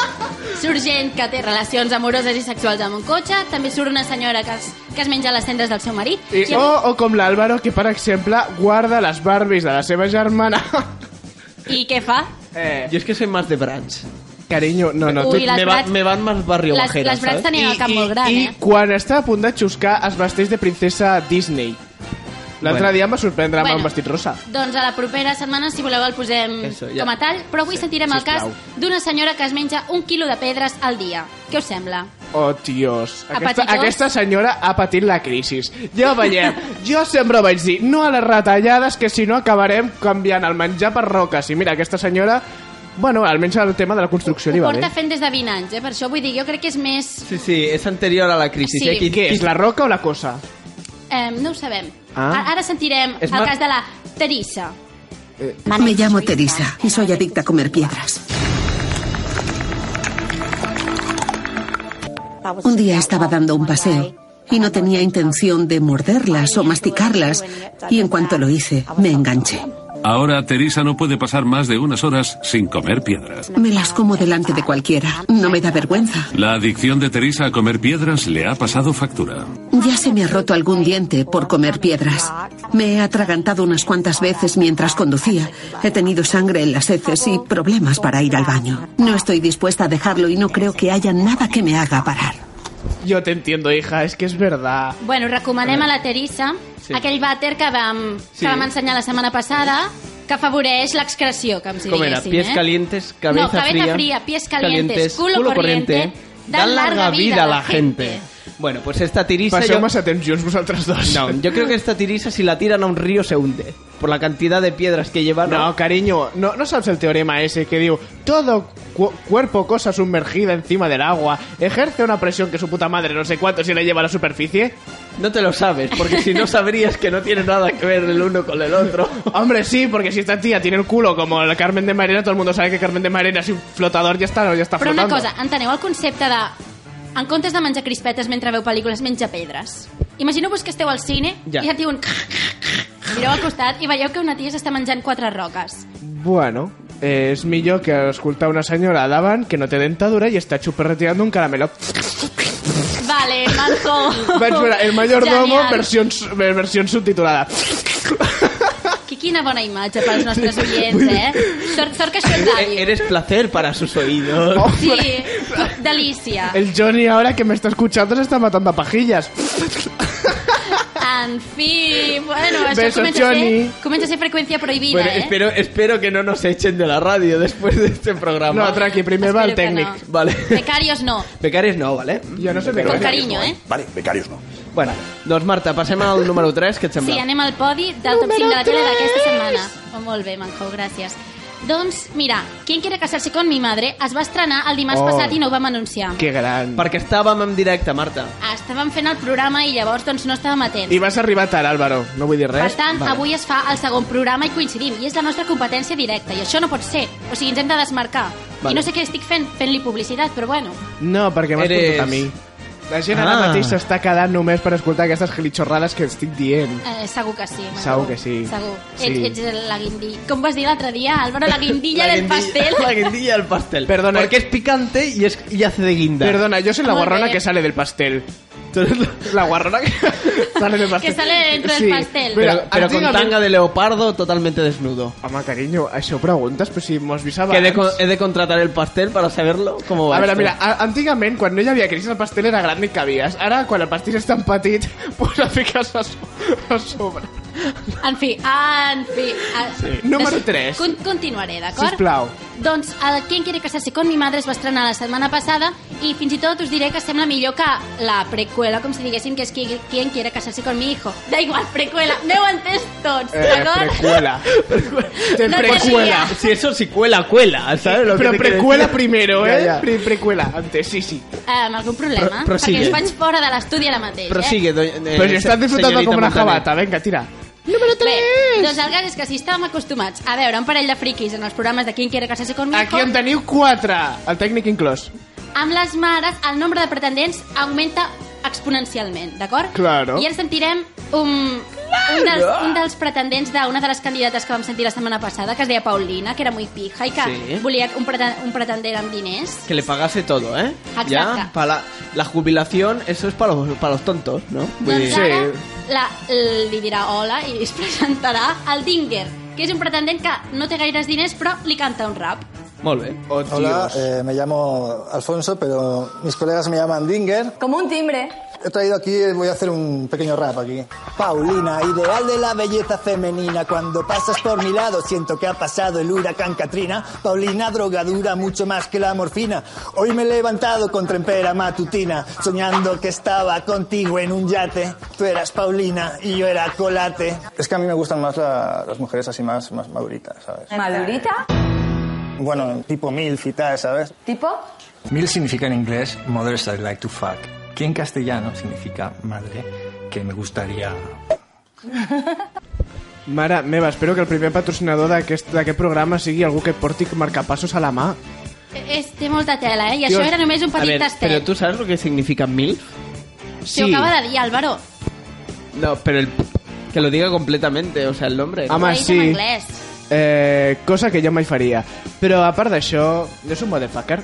surt gent que té relacions amoroses i sexuals amb un cotxe, també surt una senyora que es, que es menja les cendres del seu marit.
I,
a
o,
mi-
o com l'Àlvaro, que per exemple guarda les Barbies de la seva germana.
I què fa?
Eh,
Yo es que soy más de Branch.
carinyo, no, no.
Uy,
tu-
las
me, va-
Branch-
me van más barrio
Les,
bajera,
les brats
¿sabes?
tenien el cap molt gran,
i
eh?
quan està a punt de xuscar es vesteix de princesa Disney. L'altre
Bueno.
dia em va sorprendre amb
Bueno.
un vestit rosa.
Doncs a la propera setmana, si voleu, el posem
Eso, ja.
com a tall, però avui
Sí,
sentirem el cas
sisplau.
d'una senyora que es menja un quilo de pedres al dia. Què us sembla?
Oh, tios.
Ha
Aquesta,
patit, oi?
aquesta senyora ha patit la crisi. Ja ho veiem. Jo sempre vaig dir no a les retallades, que si no acabarem canviant el menjar per roques. I mira, aquesta senyora... Bueno, almenys el tema de la construcció li
Ho
va
porta
bé.
fent des de 20 anys, eh? Per això vull dir, jo crec que és més...
Sí, sí, es anterior a la crisis.
Sí.
¿eh? Qui-
Què
qui-
és, la roca o la cosa?
Eh, no ho sabem.
Ah.
Ara- Ara sentirem
És
el
mar-
cas de la Terissa.
Me llamo Teresa y soy adicta a comer piedras. Un día estaba dando un paseo y no tenía intención de morderlas o masticarlas y en cuanto lo hice me enganché.
Ahora Teresa no puede pasar más de unas horas sin comer piedras.
Me las como delante de cualquiera, no me da vergüenza.
La adicción de Teresa a comer piedras le ha pasado factura.
Ya se me ha roto algún diente por comer piedras. Me he atragantado unas cuantas veces mientras conducía. He tenido sangre en las heces y problemas para ir al baño. No estoy dispuesta a dejarlo y no creo que haya nada que me haga parar.
Yo te entiendo, hija, es que es verdad.
Bueno, recomanem a la Terissa
Sí.
aquell vàter que vam,
Sí.
que vam ensenyar la setmana passada que afavoreix l'excreció, com si
¿Cómo era?
diguéssim.
Pies
eh?
calientes, cabeza,
no, cabeza fría,
fría
pies calientes, culo, corriente,
Dan larga vida a la gente. Bueno, pues esta tirisa...
Passeu
yo-
massa temps junts vosaltres dos.
No, yo creo que esta tirisa si la tiran a un río se hunde. Por la cantidad de piedras que lleva.
No, cariño, no, no sabes el teorema ese que digo, todo cu- cuerpo cosa sumergida encima del agua ejerce una presión que su puta madre no sé cuánto si la lleva a la superficie.
No te lo sabes, porque si no sabrías que no tiene nada que ver el uno con el otro.
Hombre, sí, porque si esta tía tiene el culo como el Carmen de Marina, todo el mundo sabe que Carmen de Marina es un flotador ya está, ya está
Però una
flotando.
cosa, enteneu el concepte de... En comptes de menjar crispetes mentre veu pel·lícules, menja pedres. Imagineu-vos que esteu al cine
Ja.
i et diuen... Mireu al costat i veieu que una tia s'està menjant quatre roques.
Bueno, eh, es mi yo que esculta una señora Daban que no te dentadura y está chuperreteando un caramelo.
Vale, manco.
Vaig veure el mayordomo,
Genial.
versión, versión eh, subtitulada.
Que quina bona imatge pels nostres oients, eh? Sort, sort que això és
E-
ràdio.
Eres placer para sus oídos.
Oh.
Sí, delícia.
El Johnny ahora que me está escuchando se está matando a pajillas.
En fi, bueno, això
Besos,
comença a, ser,
Johnny.
comença a ser freqüència prohibida,
Bueno,
eh?
espero, espero que no nos echen de la radio después de este programa.
No, tranqui, primer va el
Espero que
tècnic.
no.
Vale.
Becarios no,
Becarios no, ¿vale?
Jo no sé de
con
què.
carinyo, eh?
Vale, becarios no.
Bueno, doncs Marta, passem al número 3, què et sembla?
Sí, anem al podi del top 5 de la tele d'aquesta setmana. Oh, molt bé, Manco, gràcies. Doncs, mira, Quien quiere casarse con mi madre es va estrenar el dimarts
Oh.
passat i no ho vam anunciar.
Que gran.
Perquè estàvem en directe, Marta.
Ah, Estàvem fent el programa i llavors doncs, no estàvem atents.
I vas arribar tard, Álvaro. No vull dir
Per
res.
tant, avui es fa el segon programa i coincidim, i és la nostra competència directa, i això no pot ser. O sigui, ens hem de desmarcar.
Vale.
I no sé què estic fent, fent-li publicitat, però bueno.
No, perquè m'has
Eres-
portat a mi. La gent ara
Ah.
mateix s'està quedant només per escoltar aquestes gelitxorrades que estic dient.
Eh, segur que sí. Manco.
Segur que sí.
Segur.
Sí.
Ets, ets el- la guindilla. Com vas dir l'altre dia, Álvaro? La guindilla
La
del
guindilla-
pastel.
La guindilla del pastel.
Perdona.
Porque es picante y, es, y hace de guinda.
Perdona, jo soy la
Molt
guarrona
bé.
que sale del pastel.
Tú eres la-
La guarrona que sale del pastel.
Que sale dentro del pastel.
Mira,
Pero, pero con
antigament-
tanga de leopardo totalmente desnudo.
Home, carinyo, això ho preguntes, però pues si mos visava...
Que he de, co- he de contratar el pastel para saberlo cómo va
A veure,
esto.
mira, a- antigament, quan no hi havia crisi, el pastel era gran i cabies. Ara, quan el pastel és tan petit, pues el fiques a, so a sobre.
En fi, en fi. A...
Sí. Número
Des-
tres.
Con continuaré, d'acord?
Sisplau.
Doncs el Quien quiere casarse con mi madre es va estrenar la setmana passada i fins i tot us diré que sembla millor que la precuela, com si diguéssim que és qui- Quien quiere casarse con mi hijo. Da igual, precuela, m'heu entès tots,
Eh,
d'acord?
precuela. Te
No te
precuela.
rías.
Si eso sí cuela, cuela, ¿sabes? Lo que
Pero
te quiero
precuela
decir?
primero,
Ya,
¿eh?
ya.
Pre- precuela, antes, sí, sí.
Eh, amb algun problema?
Pro- prosigue.
Perquè us faig fora de l'estudi ara mateix,
Prosigue, doña- eh,
Pero si Pues estás
se-
disfrutando
señorita
como una
Montaner.
jabata, venga, tira.
eh? Bé, doncs el cas és que si estàvem acostumats a veure un parell de friquis en els programes de Quien quiere casarse con mi hijo,
Aquí en teniu 4, el tècnic inclòs.
amb les mares el nombre de pretendents augmenta exponencialment, d'acord?
Claro.
I ens sentirem un... un dels, un dels pretendents d'una de les candidates que vam sentir la setmana passada, que es deia Paulina, que era muy pija i que
Sí.
volia un, preten un pretendent amb diners.
Que le pagase todo, ¿eh?
Exacto.
Ya, para la, la jubilación, eso es para los, para los tontos, ¿no? Pues, Vull dir-
Doncs ara la, li dirà hola i es presentarà el Dinger, que és un pretendent que no té gaires diners però li canta un rap.
Molt bé.
Oh,
Hola, eh, me llamo Alfonso, pero mis colegas me llaman Dinger.
Como un timbre.
He traído aquí, eh, voy a hacer un pequeño rap aquí. Paulina, ideal de la belleza femenina. Cuando pasas por mi lado, siento que ha pasado el huracán Katrina. Paulina, drogadura, mucho más que la morfina. Hoy me he levantado con trempera matutina, soñando que estaba contigo en un yate. Tú eras Paulina y yo era Colate. Es que a mí me gustan más las mujeres así más, más maduritas, ¿sabes?
Madurita.
Bueno, tipo milf y tal, ¿sabes?
Tipo.
Mil significa en inglés mothers I like to fuck, que en castellano significa madre que me gustaría.
Mare meva, espero que el primer patrocinador d'aquest d'aquest programa sigui algú que et porti marcapassos a la mà.
E, És, té molta tela, eh? I això era només un este.
A
petit
ver,
tastet.
¿Pero tú sabes lo que significan MILF?
S'ho acaba de dir, Álvaro.
No, pero el, que lo diga completamente, o sea, el nombre.
Ho ha
Home,
dit
sí.
en anglès.
Eh, cosa que jo mai faria. Però a part d'això, jo soc motherfucker.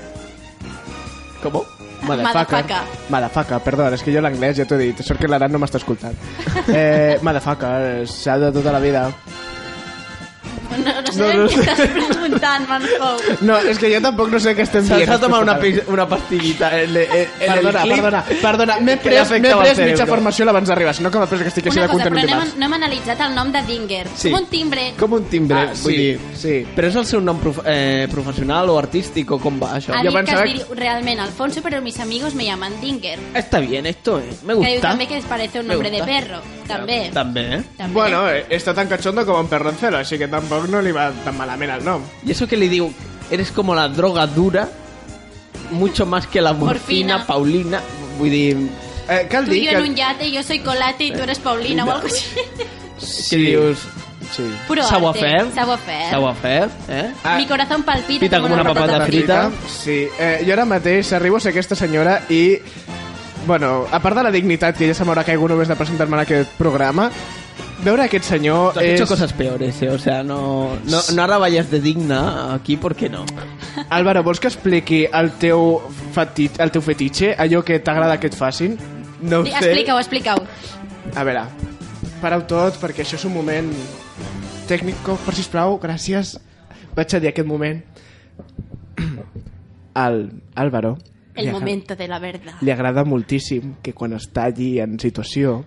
Com?
Motherfucker.
Motherfucker, perdó, és que jo l'anglès ja t'ho he dit. Sort que l'Aran no m'està escoltant. Eh, motherfucker, s'ha de tota la vida.
No, no sé
No,
no,
no
què
sé.
estàs preguntant, Manjou.
No, és que jo tampoc no sé què estem
Se'ls
dient.
ha tomat una, pis- una pastillita en, en- en
Perdona,
el clip.
perdona, perdona. M'he
que
pres,
afecta
m'he
el
pres
cerebro.
mitja formació abans d'arribar, sinó que m'ha pres que estic així
Una
de
cosa,
content
però
un
no hem,
dimarts.
no hem analitzat el nom de Dinger.
Sí.
Com un timbre.
Com un timbre,
Ah,
vull
sí,
dir.
Sí.
Però és el seu nom prof eh, professional o artístic o com va això?
A mi que es diu realment Alfonso, però mis amigos me llaman Dinger.
Está bien esto, eh? Me
Que diu
gusta.
també que es parece un
Me
nombre de
gusta.
perro. També.
També, eh?
També.
Bueno, eh, està tan cachondo com un perro en celo, així que tampoc no li va tan malament el nom.
Y eso que le digo, eres como la droga dura, mucho más que la
Morfina.
morfina, Paulina. Vull dir...
Eh, cal
Tu i jo en un yate, jo soy Colate i tu eres Paulina o algo així.
Sí. Que dius...
Sí.
Puro arte.
Savoir-faire.
Savoir-faire.
Savoir-faire, eh?
Mi corazón palpita,
Pita com una patata frita.
Sí, eh, jo ara mateix arribo a ser aquesta senyora i... Bueno, a part de la dignitat, que ja se m'haurà caigut només de presentar-me en aquest programa, veure aquest senyor
Tú has
és...
hecho cosas peores, eh? O sea, no, no, no ahora vayas de digna aquí, ¿por qué no?
Álvaro, vols que expliqui el teu, fetit, el teu fetitxe, allò que t'agrada que et facin? No
Di- Explica-ho, explica-ho.
A veure, pareu tot, perquè això és un moment tècnic, per sisplau, gràcies. Vaig a dir aquest moment. Al Álvaro.
El
li agra-
momento de la verdad.
Li agrada moltíssim que quan està allí en situació...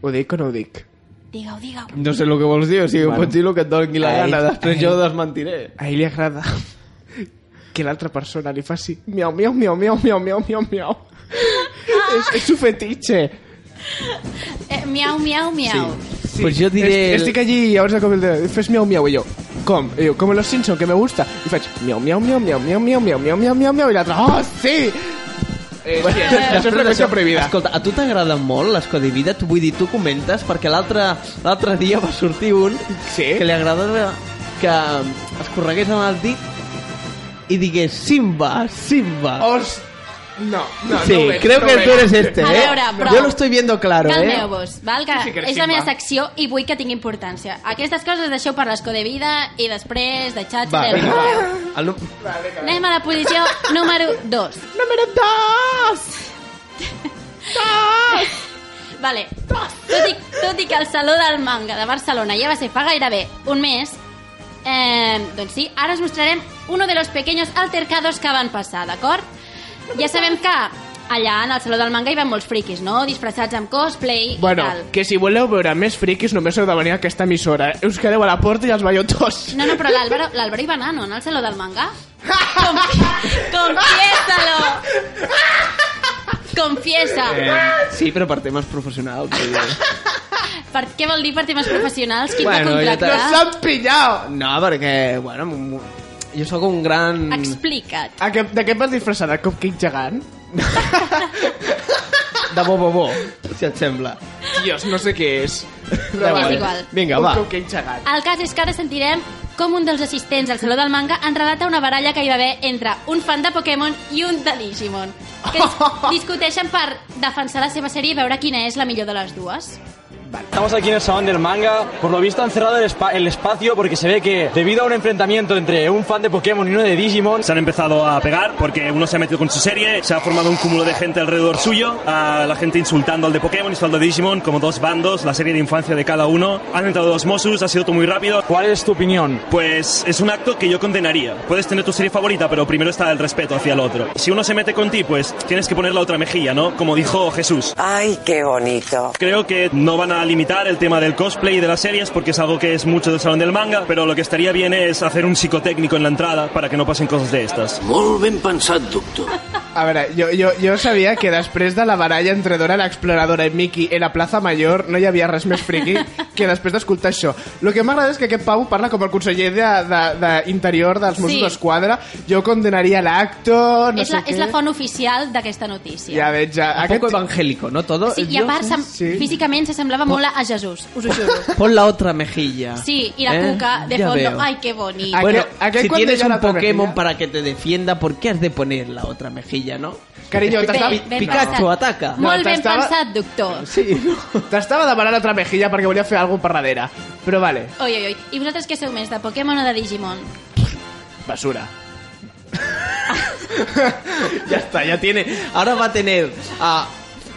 Ho dic o no ho dic?
Digue-ho, digue-ho.
No sé el que vols dir, o sigui, bueno. pots dir el que et doni la gana, després jo desmentiré.
A ell li agrada que l'altra persona li faci miau, miau, miau, miau, miau, miau, miau, miau. és, és un fetitxe.
Eh, miau, miau, miau.
Sí.
Pues jo diré
Est
el-
estic allí i llavors de cop el de... Fes miau, miau, i jo... Com? I jo, com los Simpson, que me gusta. I faig miau, miau, miau, miau, miau, miau, miau, miau, miau, miau, miau, i l'altre... Oh, sí! Eh, sí, això, això és freqüència prohibida.
Escolta, a tu t'agrada molt l'escodivida? Tu, vull dir, tu comentes, perquè l'altre l'altre dia va sortir un
sí?
que li agradava que es corregués amb el dit i digués Simba, Simba.
Os... No, Oh, no,
sí,
no ho veig,
creo
no ho
que tú
veig.
eres este,
A
¿eh?
veure, però-
Yo lo estoy viendo claro, ¿eh?
Calmeu-vos, val? Que
Sí que eres
és la
Simba.
meva secció i vull que tingui importància. Aquestes coses deixeu per l'escó de vida i després de xats
Va,
del
vinga.
correu.
El nu-
Anem a la posició número 2.
Número 2!
Vale. Tot i, tot i que el Saló del Manga de Barcelona ja va ser fa gairebé un mes, eh, doncs sí, ara us mostrarem uno de los pequeños altercados que van passar, d'acord? Ja sabem que allà en el Saló del Manga hi van molts friquis, no? Disfressats amb cosplay
Bueno,
i tal.
que si voleu veure més friquis només heu de venir a aquesta emissora. Us quedeu a la porta i els veio tots.
No, no, però l'Àlvaro l'Àlvaro hi va anar, no? En el Saló del Manga? Confi Confiésalo! Confiesa!
Eh, sí, però per temes professionals. vull dir.
Per què vol dir per temes professionals? Qui et va
Bueno, ja t'ha-
contractar?
Nos
han pillat!
No, perquè, bueno, mu- jo sóc un gran... Ah,
Explica't.
A què, de què et vas disfressar? De Cupcake gegant?
De bo-bo-bo, si et sembla.
Dios, no sé què és.
Ja és igual.
Vinga,
Un
va.
Cupcake gegant.
El cas és que ara sentirem com un dels assistents al Saló del Manga en relata una baralla que hi va haver entre un fan de Pokémon i un de Digimon, que es discuteixen per defensar la seva sèrie i veure quina és la millor de les dues.
Estamos aquí en el salón del manga. Por lo visto han cerrado el, espa- el espacio porque se ve que debido a un enfrentamiento entre un fan de Pokémon y uno de Digimon
Se han empezado a pegar porque uno se ha metido con su serie, se ha formado un cúmulo de gente alrededor suyo, a la gente insultando al de Pokémon y al de Digimon como dos bandos, la serie de infancia de cada uno. Han entrado dos Mosus, ha sido todo muy rápido.
¿Cuál es tu opinión?
Pues es un acto que yo condenaría. Puedes tener tu serie favorita, pero primero está el respeto hacia el otro. Si uno se mete con ti, pues tienes que poner la otra mejilla, ¿no? Como dijo Jesús.
Ay, qué bonito.
Creo que no van a limitar el tema del cosplay y de las series porque es algo que es mucho del salón del manga, pero lo que estaría bien es hacer un psicotécnico en la entrada para que no pasen cosas de estas.
Molt ben pensat, doctor. A veure, jo, jo, jo sabia que després de la baralla entre Dora l'exploradora i Mickey en la plaça Major no hi havia res més friqui que després d'escoltar això. El que m'agrada és que aquest Pau parla com el conseller d'interior de, de, interior dels Mossos
Sí.
sí. d'Esquadra. Jo condenaria l'acto, no
és,
sé
la,
què...
és la font oficial d'aquesta notícia.
Ja veig, ja. Aquest... poco evangélico, no? Todo
Sí, i a part, sem... sí. físicament se semblava molt a Jesús, us ho juro.
Pon la otra
Ah.
mejilla.
Sí, y la
¿Eh?
cuca de
Ya
fondo.
veo.
Ay, qué bonito.
Bueno, si
cuando
tienes
ya
un
la otra
Pokémon
mejilla?
para que te defienda, ¿por qué has de poner la otra mejilla, no?
Cariño,
Pi-
t'estava-
Pi-
Ben
Pikachu
pensat.
ataca.
No,
Molt ben
t'estava-
pensat, doctor.
Sí, no. T'estava demanant altra mejilla perquè volia fer alguna cosa per darrere. Però vale,
Oi, oi, oi. I vosaltres què sou més, de Pokémon o de Digimon?
basura.
Ya está, ya tiene. Ahora va a tener a,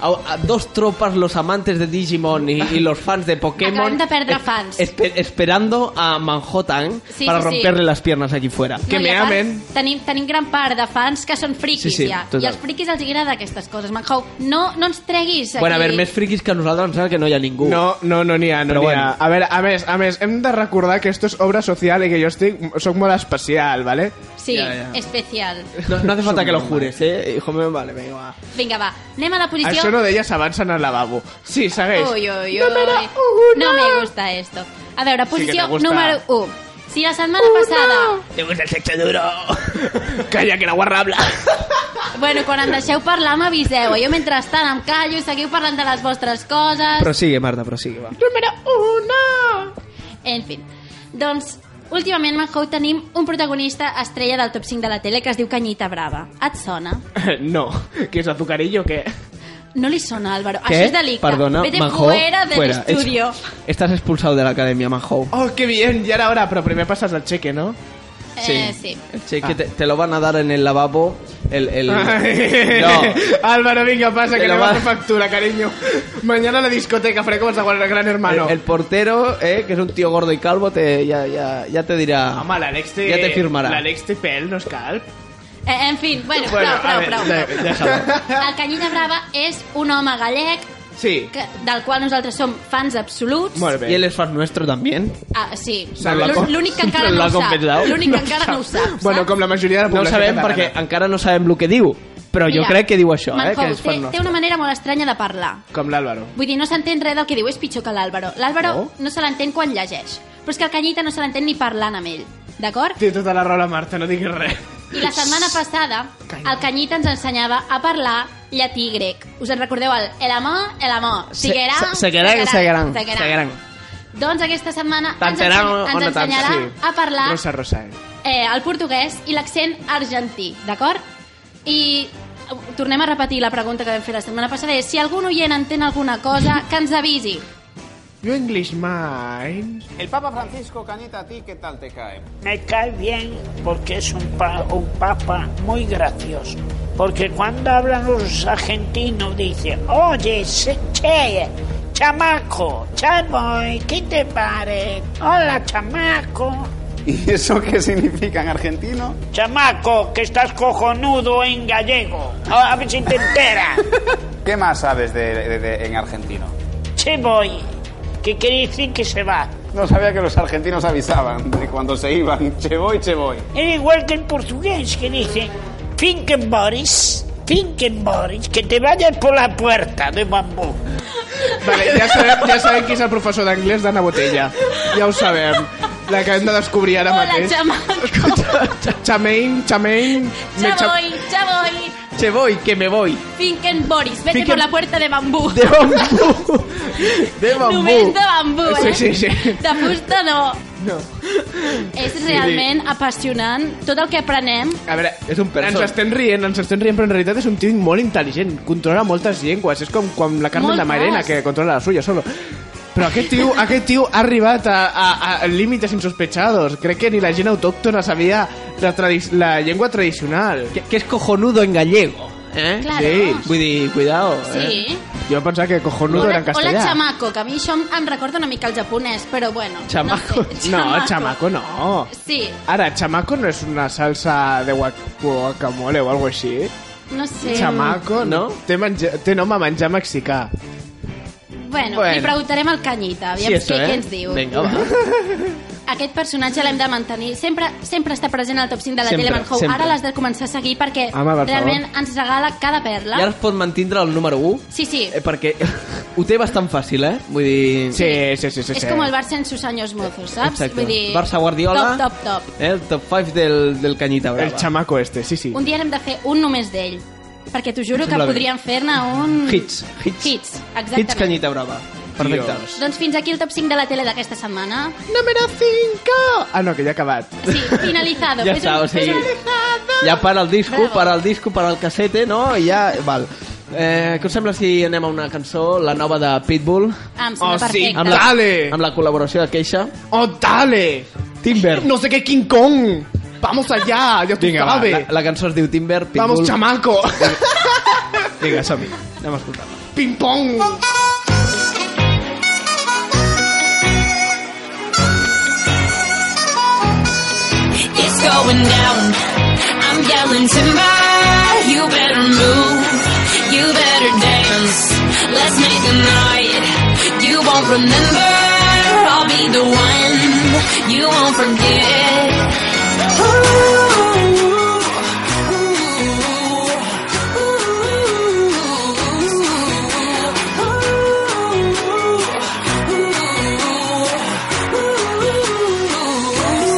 a- a dos tropas, los amantes de Digimon y, y los fans de
Acabem
Pokémon.
de perdre fans.
espe- esperando a Manhattan
Sí,
para
sí, sí.
romperle las piernas aquí fuera.
No, i a part, Tenim, tenim gran part de fans que són friquis,
Sí, sí,
ja.
total.
I als friquis els agrada aquestes coses. Manjou, no, no ens treguis aquí.
Bueno, a ver, més friquis que nosaltres em sembla que no hi ha ningú.
No, no, no n'hi ha, no
Però
n'hi
bueno.
ha. A veure, a més, a més, hem de recordar que esto és obra social i que jo estic, soc molt especial, ¿vale?
Sí, especial.
No, no hace falta que lo jures,
eh? Hijo meu, vale, vinga, va.
Vinga, va, anem a la posició...
Això Ah, no deies abans en el lavabo. Sí, segueix.
Uy, uy,
No
uy.
me la-
No me gusta esto. A veure,
Sí que te
posició
gusta.
número 1. Si la setmana passada...
Te gusta el sexo duro. Calla, que la guarra habla.
Bueno, quan em deixeu parlar m'aviseu. Jo mentrestant em callo i seguiu parlant de les vostres coses.
Prosigue, Marta, prosigue, va.
Número 1! En fi, doncs, últimament a Manhou tenim un protagonista estrella del top 5 de la tele que es diu Canyita Brava. Et sona?
No, que és azucarillo, què?
No li sona, Álvaro.
Què?
Això és delicte.
Perdona,
Vete
Manhou,
fuera del
fuera.
estudio.
Estás expulsado de la academia, Manhou.
Oh, qué bien, ya era hora, pero primero pasas al cheque, ¿no?
Eh, sí.
El cheque te, te lo van a dar en el lavabo. El, el... No.
Álvaro, venga, pasa
Te
que
lo
le
va-
vas a factura, cariño. Mañana a la discoteca, Freco, vas a guardar gran hermano.
El, el portero, eh, que es un tío gordo y calvo, te, ya, ya, ya te dirá.
Home, l'Alex té...
Ja te firmarà.
L'Alex té pèl, no és calp.
Eh, en fi, bueno,
Bueno,
prou,
a
prou,
ver,
prou.
de-
prou.
deixa-ho.
El Canyita Brava és un home gallec
Sí.
que, del qual nosaltres som fans absoluts.
Y él es fan nuestro también.
Ah, sí.
Sembla com-
L'ú- L'únic que encara
Sembla
no ho
com
sap.
pensau.
L'únic
No
que encara no ho sap.
Bueno, com la majoria de la
No ho
població
sabem
catalana.
perquè encara no sabem el que diu, però jo
Mira,
crec que diu això, eh,
Manhou
que és fan
té, té
nostre.
una manera molt estranya de parlar.
Com l'Àlvaro.
Vull dir, no s'entén res del que diu, és pitjor que l'Àlvaro. L'Àlvaro no?
No?
no se l'entén quan llegeix, però és que el Canyita no se l'entén ni parlant amb ell, d'acord?
Té tota la rola, Marta, no diguis res.
I la setmana passada el Canyita ens ensenyava a parlar llatí i grec. Us en recordeu el el amor, el amor, seguirà,
Se- se- seguirán, seguirán, seguirán.
Doncs aquesta setmana ens,
Tantarà
ensenya-
o- o
ens
no tant,
ensenyarà
sí.
a parlar
Rosa, Rosa, eh?
eh, el portuguès i l'accent argentí, d'acord? I eh, tornem a repetir la pregunta que vam fer la setmana passada, és si algun oient entén alguna cosa, que ens avisi.
You English mind.
El Papa Francisco Cañita, ¿a ti qué tal te cae?
Me cae bien porque es un, pa- un papa muy gracioso. Porque cuando hablan los argentinos dice, oye, se- che, chamaco, chavoy, ¿qué te pare? Hola, chamaco.
¿Y eso qué significa en argentino?
Chamaco, que estás cojonudo en gallego. A a ver si te enteras.
¿Qué más sabes de, de- de- en argentino?
Che voy, que quiere decir que se va.
No sabía que los argentinos avisaban de cuando se iban. Che voy, che voy.
Es igual que el portugués que dice, Finken Boris, Finken Boris, que te vayas por la puerta de bambú.
Vale, ja sabem, ja sabem qui és el professor d'anglès d'Anna Botella. Ja ho sabem. La que hem de descobrir ara
Hola,
mateix.
xamaco,
Xamain, xamain...
ja voy, ja voy,
se voy, que me voy.
Finken Boris, vete
Finken-
por la puerta de bambú.
De bambú. De bambú.
Només de bambú, eh?
Sí, sí, sí.
De fusta no.
No.
És
Sí,
realment apassionant tot el que aprenem.
A veure, és un
person.
Ens estem rient, ens estem rient, però en realitat és un tio molt intel·ligent, controla moltes llengües, és com quan la Carmen
Moltes.
de Marena, que controla la suya solo. Però aquest tio, aquest tio ha arribat a, a, a límites insospechados. Crec que ni la gent autòctona sabia la, tradi- la llengua tradicional. Que,
que és cojonudo en gallego, eh?
Claro.
Sí,
Vull dir, cuidado, eh?
Sí.
Jo pensava que cojonudo era en
Hola, hola,
castellà.
chamaco, que a mi això em- em recorda una mica el japonès, però bueno.
Chamaco.
No, sé,
No,
chamaco.
chamaco no.
Sí,
Ara, chamaco no és una salsa de guac- guacamole o algo així.
no sé.
Chamaco, no? Té, menja, té nom a menjar mexicà.
Bueno, bueno, li
Bueno.
preguntarem al Canyita, aviam què,
eh.
què ens diu.
Vinga, va.
Aquest personatge l'hem de mantenir. Sempre, sempre està present al top 5 de la
Sempre,
tele Telemann Howe.
sempre.
Ara l'has de començar a seguir perquè
Home, per
realment ens regala cada
I ara
perla.
es pot mantindre el número 1?
Sí, sí.
Eh, perquè ho té bastant fàcil, eh? Vull dir...
Sí, sí, sí, sí.
És com el Barça en sus años mozos, saps?
Exacte.
Vull dir...
Barça Guardiola.
Top, top, top.
Eh, el top 5 del, del Canyita Brava.
El chamaco este, sí, sí.
Un dia hem de fer un només d'ell. Perquè t'ho juro que
Sembla bé.
podríem fer-ne un...
Hits. Hits.
Hits, exactament.
Hits Canyita Brava. Perfecte.
Doncs fins aquí el top 5 de la tele d'aquesta setmana.
Número 5! Ah, no, que ja ha acabat.
Sí, finalizado.
Ja
Fes
està,
un-
o sigui,
fes un-
Ja para el disco,
Bravo.
para el disco, para el casete, no? I ja... Val. Eh, què us sembla si anem a una cançó, la nova de Pitbull?
Ah, em sembla Oh, sí, perfecte.
Amb la,
dale!
amb la col·laboració de Queixa.
Oh, dale!
Timber.
No sé qué King Kong. Vamos allá, ya tú
va,
sabes.
la, la cançó es diu Timber, Pitbull.
Vamos, chamaco.
Vinga, som-hi. Anem a escoltar-la.
Ping pong.
It's going down. I'm yelling timber. You better move. You better dance. Let's make a night. You won't remember. I'll be the one. You won't forget. Ooh,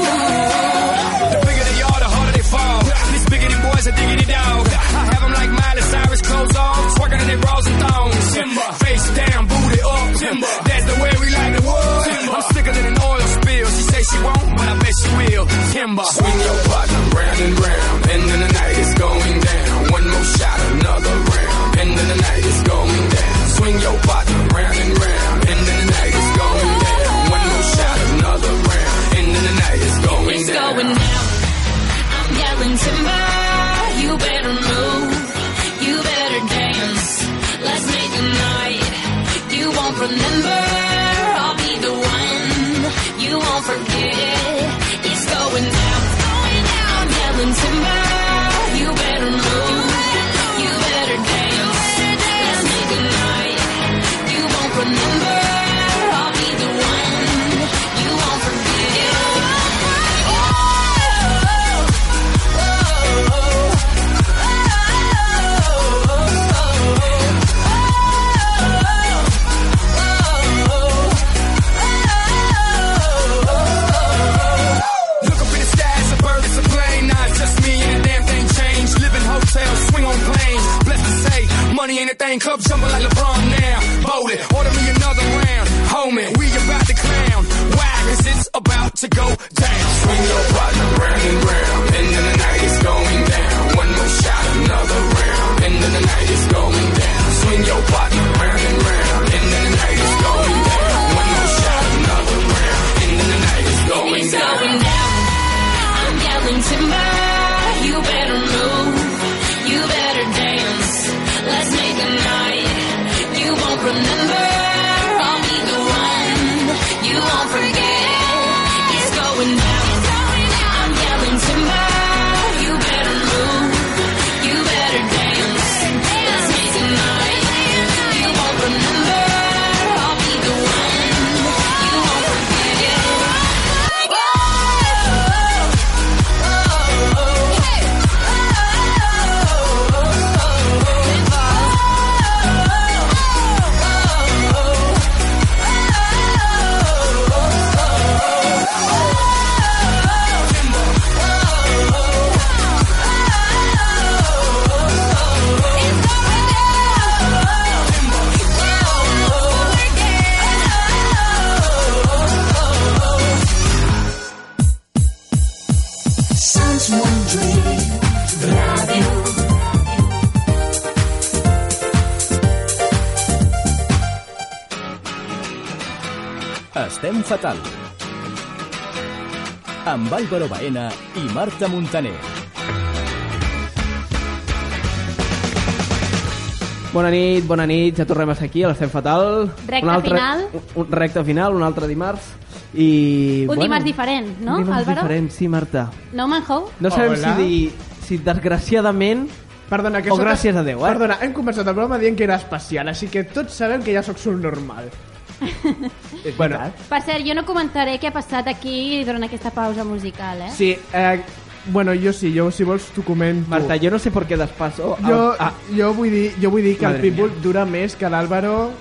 The bigger they are, the harder they fall. This biggity boy's a diggity dog. I have 'em like Miley Cyrus, clothes off, twerking in their bras and thongs. Timber. Face down, booty up. Timber. That's the way we like the world. Timber. I'm sicker than an oil spill. She say she won't, but I bet she will. Timber. Swing your partner round and round. End of the night is going down. One more shot, another round. End of the night is going down. Swing your partner round and round. End of the night is going down. One more shot, another round. End of the night is going
It's
down.
going down. I'm yelling timber. You better move. You better dance. Let's make a night. You won't remember. I'll be the one. You won't forget. It's going down. I'm yelling timber. You better move. You better dance. Let's make a night. You won't remember. I'll be the one. You won't forget. Oh,
Look up in the sky, it's a bird, it's a plane. Not just me and the damn thing changed. Live in hotels, swing on planes. Blessed to say, money ain't a thing. Club jumping like LeBron now. Bowl it, order me another round. Homie, we about to clown. Why? Cause it's about to go down. Swing your partner round and round. End of the night is going down. One more shot, another round. End of the night is going down. Swing your partner round and round. End of the night is going down. One more shot, another round. End of the night is going
It's
down.
going down. I'm yelling timber. You better move. You better dance. Let's make a night. You won't remember. I'll be the one. You won't forget. It's going down. I'm yelling timber. You better move. You better dance. Let's make a night. You
Estem fatal. Amb Álvaro Baena i Marta Montaner.
Bona nit, bona nit, ja tornem a ser aquí, a l'estem fatal.
Recte
Un altre,
final.
Un, un recte final, un altre dimarts. I,
Un
bueno,
dimarts diferent, no,
un dimarts
Álvaro?
diferent, sí, Marta.
No Manhou?
No sabem si, dir, si desgraciadament
Perdona, que
o
sóc-
gràcies a Déu, eh?
Perdona, hem començat el programa dient que era especial, així que tots sabem que ja sóc subnormal. bueno,
Per cert, jo no comentaré què ha passat aquí durant aquesta pausa musical, eh?
sí, eh, bueno, jo sí, jo si vols t'ho comento.
Marta, jo no sé per què despasso.
Jo, jo, vull dir, jo vull dir que
Madre
el Pitbull dura més que l'Àlvaro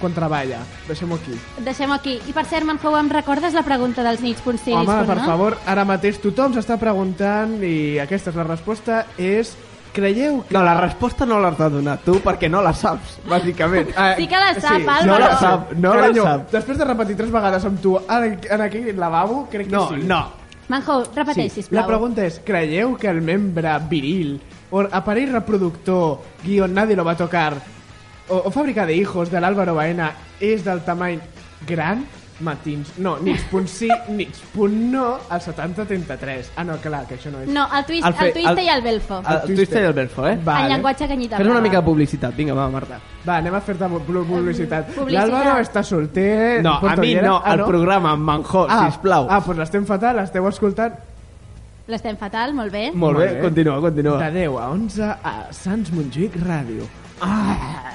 quan treballa. Deixem-ho aquí.
Deixem aquí. I per cert, Manhou, em recordes la pregunta dels nits punt sí,
Home,
nits punt
per
no?
favor, ara mateix tothom s'està preguntant i aquesta és la resposta, és... Creieu que...
No, la resposta no l'has de donar tu perquè no la saps, bàsicament.
Sí
Eh,
que la sap, Álvaro.
No la sap, no la
Carinyo,
sap.
Després de repetir tres vegades amb tu en, en aquell lavabo, crec que
No,
sí.
no.
Manhou, repeteix,
Sí.
sisplau.
La pregunta és, creieu que el membre viril o aparell reproductor guion nadie lo va a tocar o, o fàbrica de hijos de l'Àlvaro Baena és del tamany gran? Matins, no, nits punt sí, nits punt no, al 7033. Ah, no, clar, que això no és...
No, el, twist, el, Twister i el Belfo.
El, el Twister i Ah, el Belfo, eh?
En llenguatge canyita.
Fes una mica de publicitat, vinga, va, Marta.
Va, anem a fer-te bu- bu- publicitat.
Publicitat.
L'Àlvaro està solter...
No, a mi
portollera.
Ah, no, al programa, amb Manjó,
ah,
sisplau.
Ah, doncs pues l'estem fatal, l'esteu escoltant.
L'estem fatal, molt bé.
Molt bé, continua, continua.
De 10 a 11 a Sants Montjuïc Ràdio. Ah!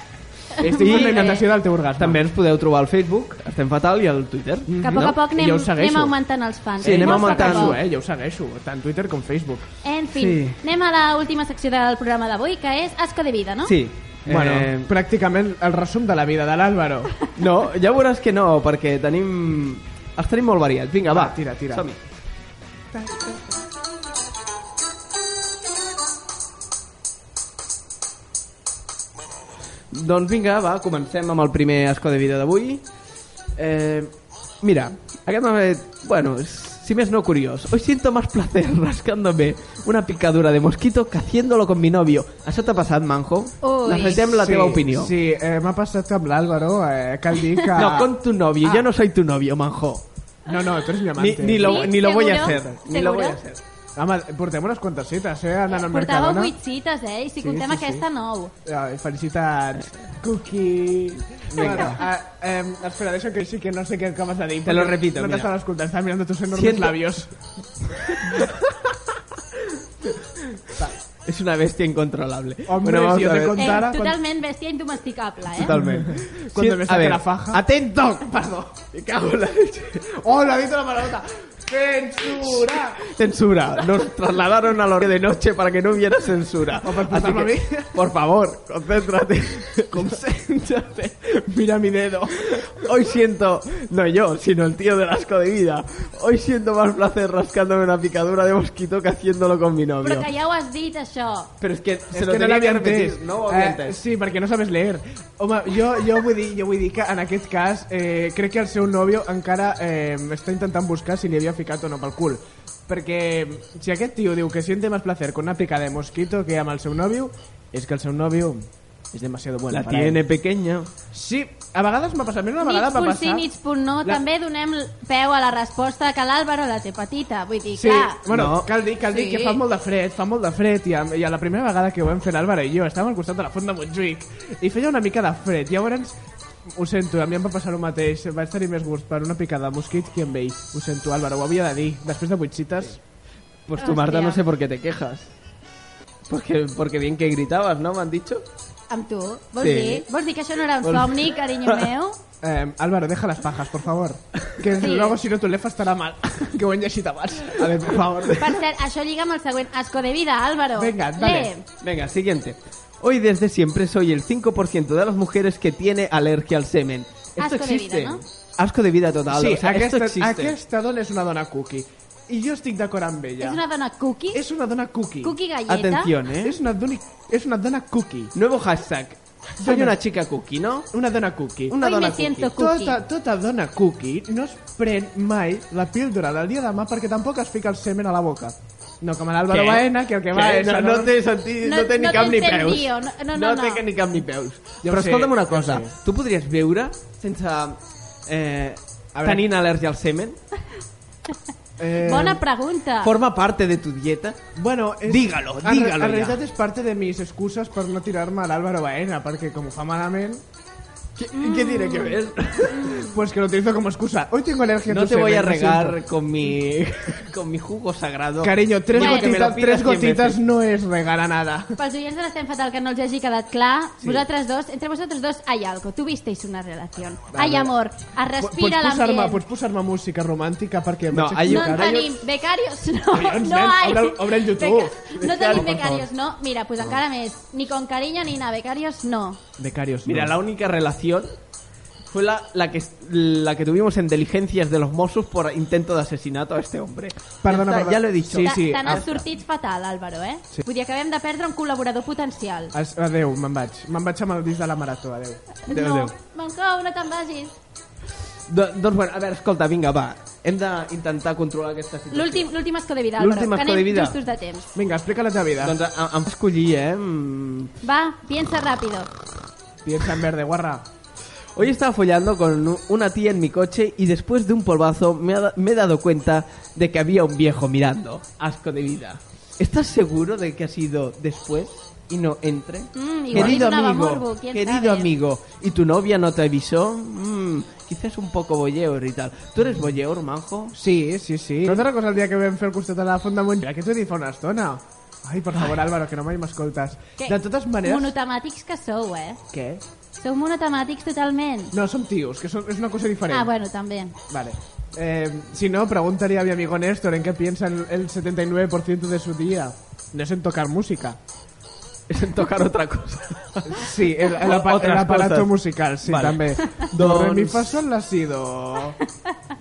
Estic
I-
fent la imitació del teu orgasme.
eh, També ens podeu trobar al Facebook, Estem Fatal, i al Twitter.
Que a poc a poc anem,
I jo us segueixo.
anem augmentant els fans.
Sí, anem
Molt
augmentant.
poc a poc.
Eh, jo ho segueixo, tant Twitter com Facebook.
En fi,
Sí.
anem a l'última secció del programa d'avui, que és Asco de Vida, no?
Sí. Eh,
Bueno, pràcticament el resum de la vida de l'Àlvaro.
No, ja veuràs que no, perquè tenim... Els tenim molt variats. Vinga, va. Tira, tira. Som-hi. Doncs vinga, va, comencem amb el primer asco de vida d'avui. Eh, mira, aquest m'ha fet... Bueno, si més no curiós. Hoy siento más placer rascándome una picadura de mosquito que haciéndolo con mi novio. Això t'ha passat, Manjo? Necessitem la
sí,
teva opinió.
Sí, eh, m'ha passat amb l'Àlvaro, eh, cal dir que...
No, con tu novio. Yo no soy tu novio, manjo.
No, no, tu eres mi
Ni,
amante.
ni lo, ni lo voy a hacer. Ni lo voy a
¿Seguro?
hacer.
Home, portem unes quantes cites, eh, anant al
Portava
Mercadona.
vuit cites, eh? I si
Sí,
contem
sí, sí.
aquesta, nou.
Ai, felicitats. Cookie.
Vinga.
Bueno, ah, eh, espera, deixa que sí que no sé què acabas de dir.
Te lo
perquè
repito,
No
mira.
t'estan escoltant, están mirando tus enormes
Siento-
labios.
Es una bestia incontrolable.
Hombre, si yo te
eh, totalment bèstia indomesticable, eh?
Totalmente.
Cuando me saque
a ver,
la faja.
¡Atento!
Perdón. Me cago en la leche. ¡Oh, lo ha dicho la palabra! ¡Censura!
Censura. Nos trasladaron a la hora de noche para que no hubiera censura. Así
putarme
que, por favor, concéntrate. concéntrate. Mira mi dedo. Hoy siento, no yo, sino el tío del asco de vida. Hoy siento más placer rascándome una picadura de mosquito que haciéndolo con mi novio.
Però que ja ho has dit, això.
Pero es que se
Es
lo
que no
tenía que
l'havia
repetir, Ah,
entès.
no ho
eh,
havia entès.
sí, perquè no sabes leer. Home, jo, jo, vull dir, jo vull dir que en aquest cas eh, crec que el seu nòvio encara eh, està intentant buscar si li havia ficat o no pel cul. Perquè si aquest tio diu que siente más placer con una pica de mosquito que amb el seu nòvio, és que el seu nòvio és demasiado bueno
La
para
tiene
él.
pequeña.
Sí, a vegades m'ha passat, mira, una vegada
Nits
m'ha
punt
passat...
sí, nits punt no.
La-
També donem peu a la resposta que l'Àlvaro la té petita. Vull dir,
Sí,
clar...
bueno, cal dir, cal dir
Sí.
que fa molt de fred, fa molt de fred i a, i a la primera vegada que ho vam fer l'Àlvaro i jo estàvem al costat de la font de Montjuïc i feia una mica de fred, llavors ho sento, a mi em va passar el mateix vaig tenir més gust per una picada de mosquits que amb ell ho sento Álvaro, ho havia de dir, després de vuit cites
Pues tú, Marta, no sé por qué te quejas. Porque, porque bien que gritabas, ¿no? Me han dicho.
Amb tu? Vols,
Sí.
dir? Vols dir que això no era un
Vols-
somni, carinyo meu?
eh, Álvaro, deja las pajas, por favor que
Sí.
luego si no tu lefa estarà mal que ho hem llegit abans a ver, por favor
Per cert, això lliga amb el següent asco de vida, Álvaro.
Venga,
Lee.
dale. Venga, siguiente. Hoy desde siempre soy el 5% de las mujeres que tiene alergia al semen. Esto
Asco de vida,
existe.
¿no?
Asco de vida total.
sí,
o sea, esto
aquesta,
existe.
aquesta dona és una dona cookie i jo estic d'acord amb ella
És una dona cookie?
És una dona cookie.
Cookie galleta?
Atención, ¿eh?
Es una, dona, es una dona cookie.
Nuevo hashtag. Soy una chica cookie, ¿no?
Una dona cookie.
Una
Hoy
dona
me siento cookie.
Tota, tota dona cookie no es pren mai la píldora del dia demà perquè tampoc es fica el semen a la boca. No com a l'Àlvaro
Què?
Baena, que el que va
Què?
és...
No- no té sentit,
No- no té ni no cap té ni peus. sentit, no- no, no,
No té
no.
que ni cap ni peus.
Ja ho
Però
sé,
escolta'm una
ja ho
cosa,
sé.
tu podries viure sense eh,
veure.
Tenint al·lèrgia al semen?
Eh,
Bona pregunta.
Forma parte de tu dieta?
Bueno, és-
Dígalo,
en re-
dígalo
En
ja.
realitat és part de mis excuses per no tirar-me a l'Álvaro Baena, perquè com ho fa malament... ¿Qué, ¿qué tiene que ver? pues que lo utilizo como excusa. Hoy tengo alergia a
No
tu
te voy
semen,
a
lo
regar
siento.
con mi con mi jugo sagrado.
Cariño, tres
Digo que me lo
gotitas, tres
pidas cien
gotitas
veces.
no es regar a nada.
Pels oients de l'Estem Fatal que no els hagi quedat clar,
Sí.
vosaltres dos, entre vosaltres dos hay algo. Tuvisteis una relación.
Vale.
Hay amor. Es
Pues,
respira
pots posar-me
l'ambient.
pots posar-me pues música romàntica perquè... em
No, hay-
No en
Ara jo-
tenim. Becarios, no.
Collons,
no
nen,
hay.
obre, el- obre el YouTube.
No
Por
tenim
favor.
becarios, no. Mira, pues encara més. Ni con cariño ni nada. Becarios, no.
Becarios. Mira, la única relación fue la, la que la que tuvimos en diligencias de los Mossos por intento de asesinato a este hombre.
Perdona,
ya, está,
perdona.
ya lo he dicho. Ah,
Te- Te n'has sortit fatal, Álvaro, eh?
Sí.
Vull dir, acabem de perdre un col·laborador potencial.
As- Adéu, me'n vaig. Me'n vaig amb el disc de la marató, adéu.
no, Mancou, no te'n vagis.
Do- doncs, bueno, a veure, escolta, vinga, va. Hem d'intentar controlar aquesta situació.
L'últim l'últim escó de vida, Álvaro.
L'últim
que
escó
anem
de vida.
justos de temps.
Vinga, explica la teva vida.
Doncs a- a- em vas collir, eh? Mm.
Va, piensa rápido.
Piensa en verde, guarra.
Hoy estaba follando con u- una tía en mi coche y después de un polvazo me, ha da- me he dado cuenta de que había un viejo mirando. Asco de vida. ¿Estás seguro de que ha sido después y no entre?
Mm, igual
querido
es una
amigo,
Bamorbo, quién
querido
sabe.
amigo, ¿y tu novia no te avisó? Mm, quizás un poco boyeur y tal. ¿Tú eres boyeur, manjo?
Sí, sí, sí. No t'ha cosa el dia que vam fer el costat de la Font de Montjuïc? Aquest ho he dit fa una estona. Ai, per favor, Álvaro, que no mai m'escoltes.
Que
De totes maneres...
Monotemàtics que sou, eh?
Què?
Sou monotemàtics totalment.
No, som tios, que són, és una cosa diferent.
Ah, bueno, també.
Vale. Eh, si no, preguntaría a mi amigo Néstor en qué piensa el, el 79% de su día. No es en tocar música.
Es en tocar otra cosa.
Sí, el, el apa-
Otras
el aparato
cosas.
musical, sí,
Vale.
també.
Doncs-
Do, re, mi, fa, sol, la, si, do.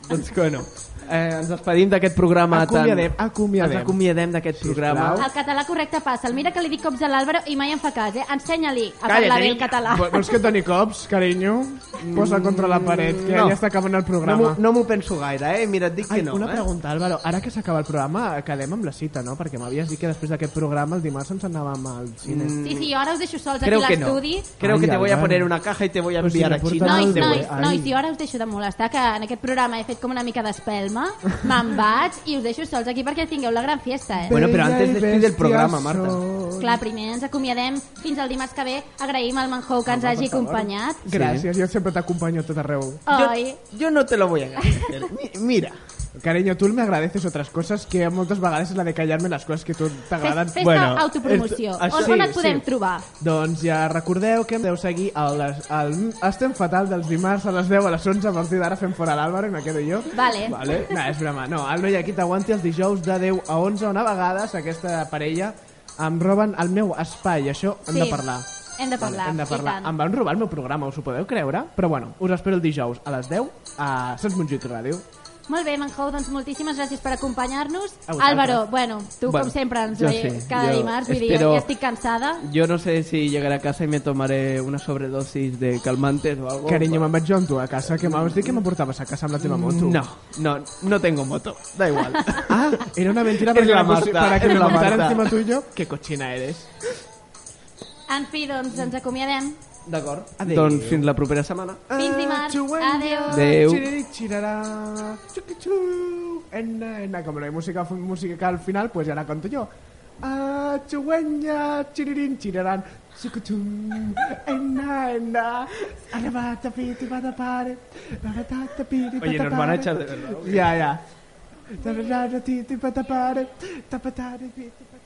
Doncs que no. Eh, ens despedim d'aquest programa
Acomiadem,
tan...
acomiadem.
Ens acomiadem d'aquest programa.
El català correcte passa. El mira que li dic cops a l'Àlvaro i mai em fa cas, eh? Ensenya-li a
Calla,
parlar bé
nena.
el català.
Vol- Vols que et doni cops, carinyo? Posa contra la paret, que
no.
ja està acabant el
No m'ho
programa.
no m'ho penso gaire, eh? Mira, et dic
Ai,
que no,
una
eh?
pregunta, Álvaro. Ara que s'acaba el programa, quedem amb la cita, no? Perquè m'havies dit que després d'aquest programa el dimarts ens anàvem al cine.
Mm,
Sí, sí, jo ara us deixo sols
Creo que
aquí a
no.
l'estudi.
Creo
Ay,
que te voy a
Álvaro.
poner una caja y te voy a
Pues si
enviar
me
a
portas
China.
Nois,
Te voy-
nois,
Ai.
nois, jo ara us deixo de molestar, que en aquest programa he fet com una mica d'espelma. Me'n vaig i us deixo sols aquí perquè tingueu la gran fiesta, eh?
Bueno, pero antes
Bella y
despide el programa,
bestia
Marta.
Clar, primer ens acomiadem fins al dimarts que ve. Agraïm al Manjou que ens hagi acompanyat.
Gràcies, jo sempre t'acompanyo a tot arreu.
Oi,
Yo no te lo voy a agradecer. Mi- Mira.
Cariño, tú me agradeces otras cosas que moltes vegades és la de callarme les coses que tu t'agraden.
fes, fes bueno, autopromoció.
esto- ah,
On,
sí,
on et podem
sí.
trobar?
Doncs ja recordeu que em deu seguir al, al Estem Fatal dels dimarts a les 10 a les 11 a partir d'ara fem fora l'Àlvaro i me quedo jo.
Vale.
Vale. No, és broma. No, el noi aquí t'aguanti els dijous de 10 a 11 on a vegades aquesta parella em roben el meu espai. Això hem
Sí.
de parlar.
Hem de parlar,
hem de
i
parlar.
tant.
Em van robar el meu programa, us ho podeu creure? Però bueno, us espero el dijous a les 10 a Sants Montjuïc Ràdio.
Molt bé, Manjou, doncs moltíssimes gràcies per acompanyar-nos.
A vosaltres.
Álvaro, bueno, tu
Bueno,
com sempre ens
jo
veies
sí,
cada
jo
dimarts, vull dir,
espero-
ja estic cansada.
Yo no sé si llegaré a casa y me tomaré una sobredosis de calmantes o algo.
Carinyo, me'n vaig jo amb tu a casa, que m'has dit que m'emportaves a casa amb la teva moto.
No, Pues no, no tengo moto. Da igual.
Ah, era una mentira
Es
perquè
la
me pusi-
Marta,
para que
es
me
la
montara
Marta.
encima tuyo. Qué cochina eres.
En fi, doncs ens acomiadem.
D'acord. Doncs fins la propera setmana.
Ah,
Fins dimarts. Adéu.
Adéu.
Chiriri, chirará, chuquichu. Enna, enna. Como no hay música fu- música al final, pues ya la canto yo. Ah, chugüeña, chirirín, chirarán, chucuchú. Enna, enna. Arrebata, piti, pata, pare. Arrebata, piti,
Oye,
pata,
nos van a
pare.
echar de verdad.
Ya, ya. Tararara, titi, pata, pare. Tapatare, piti, pata,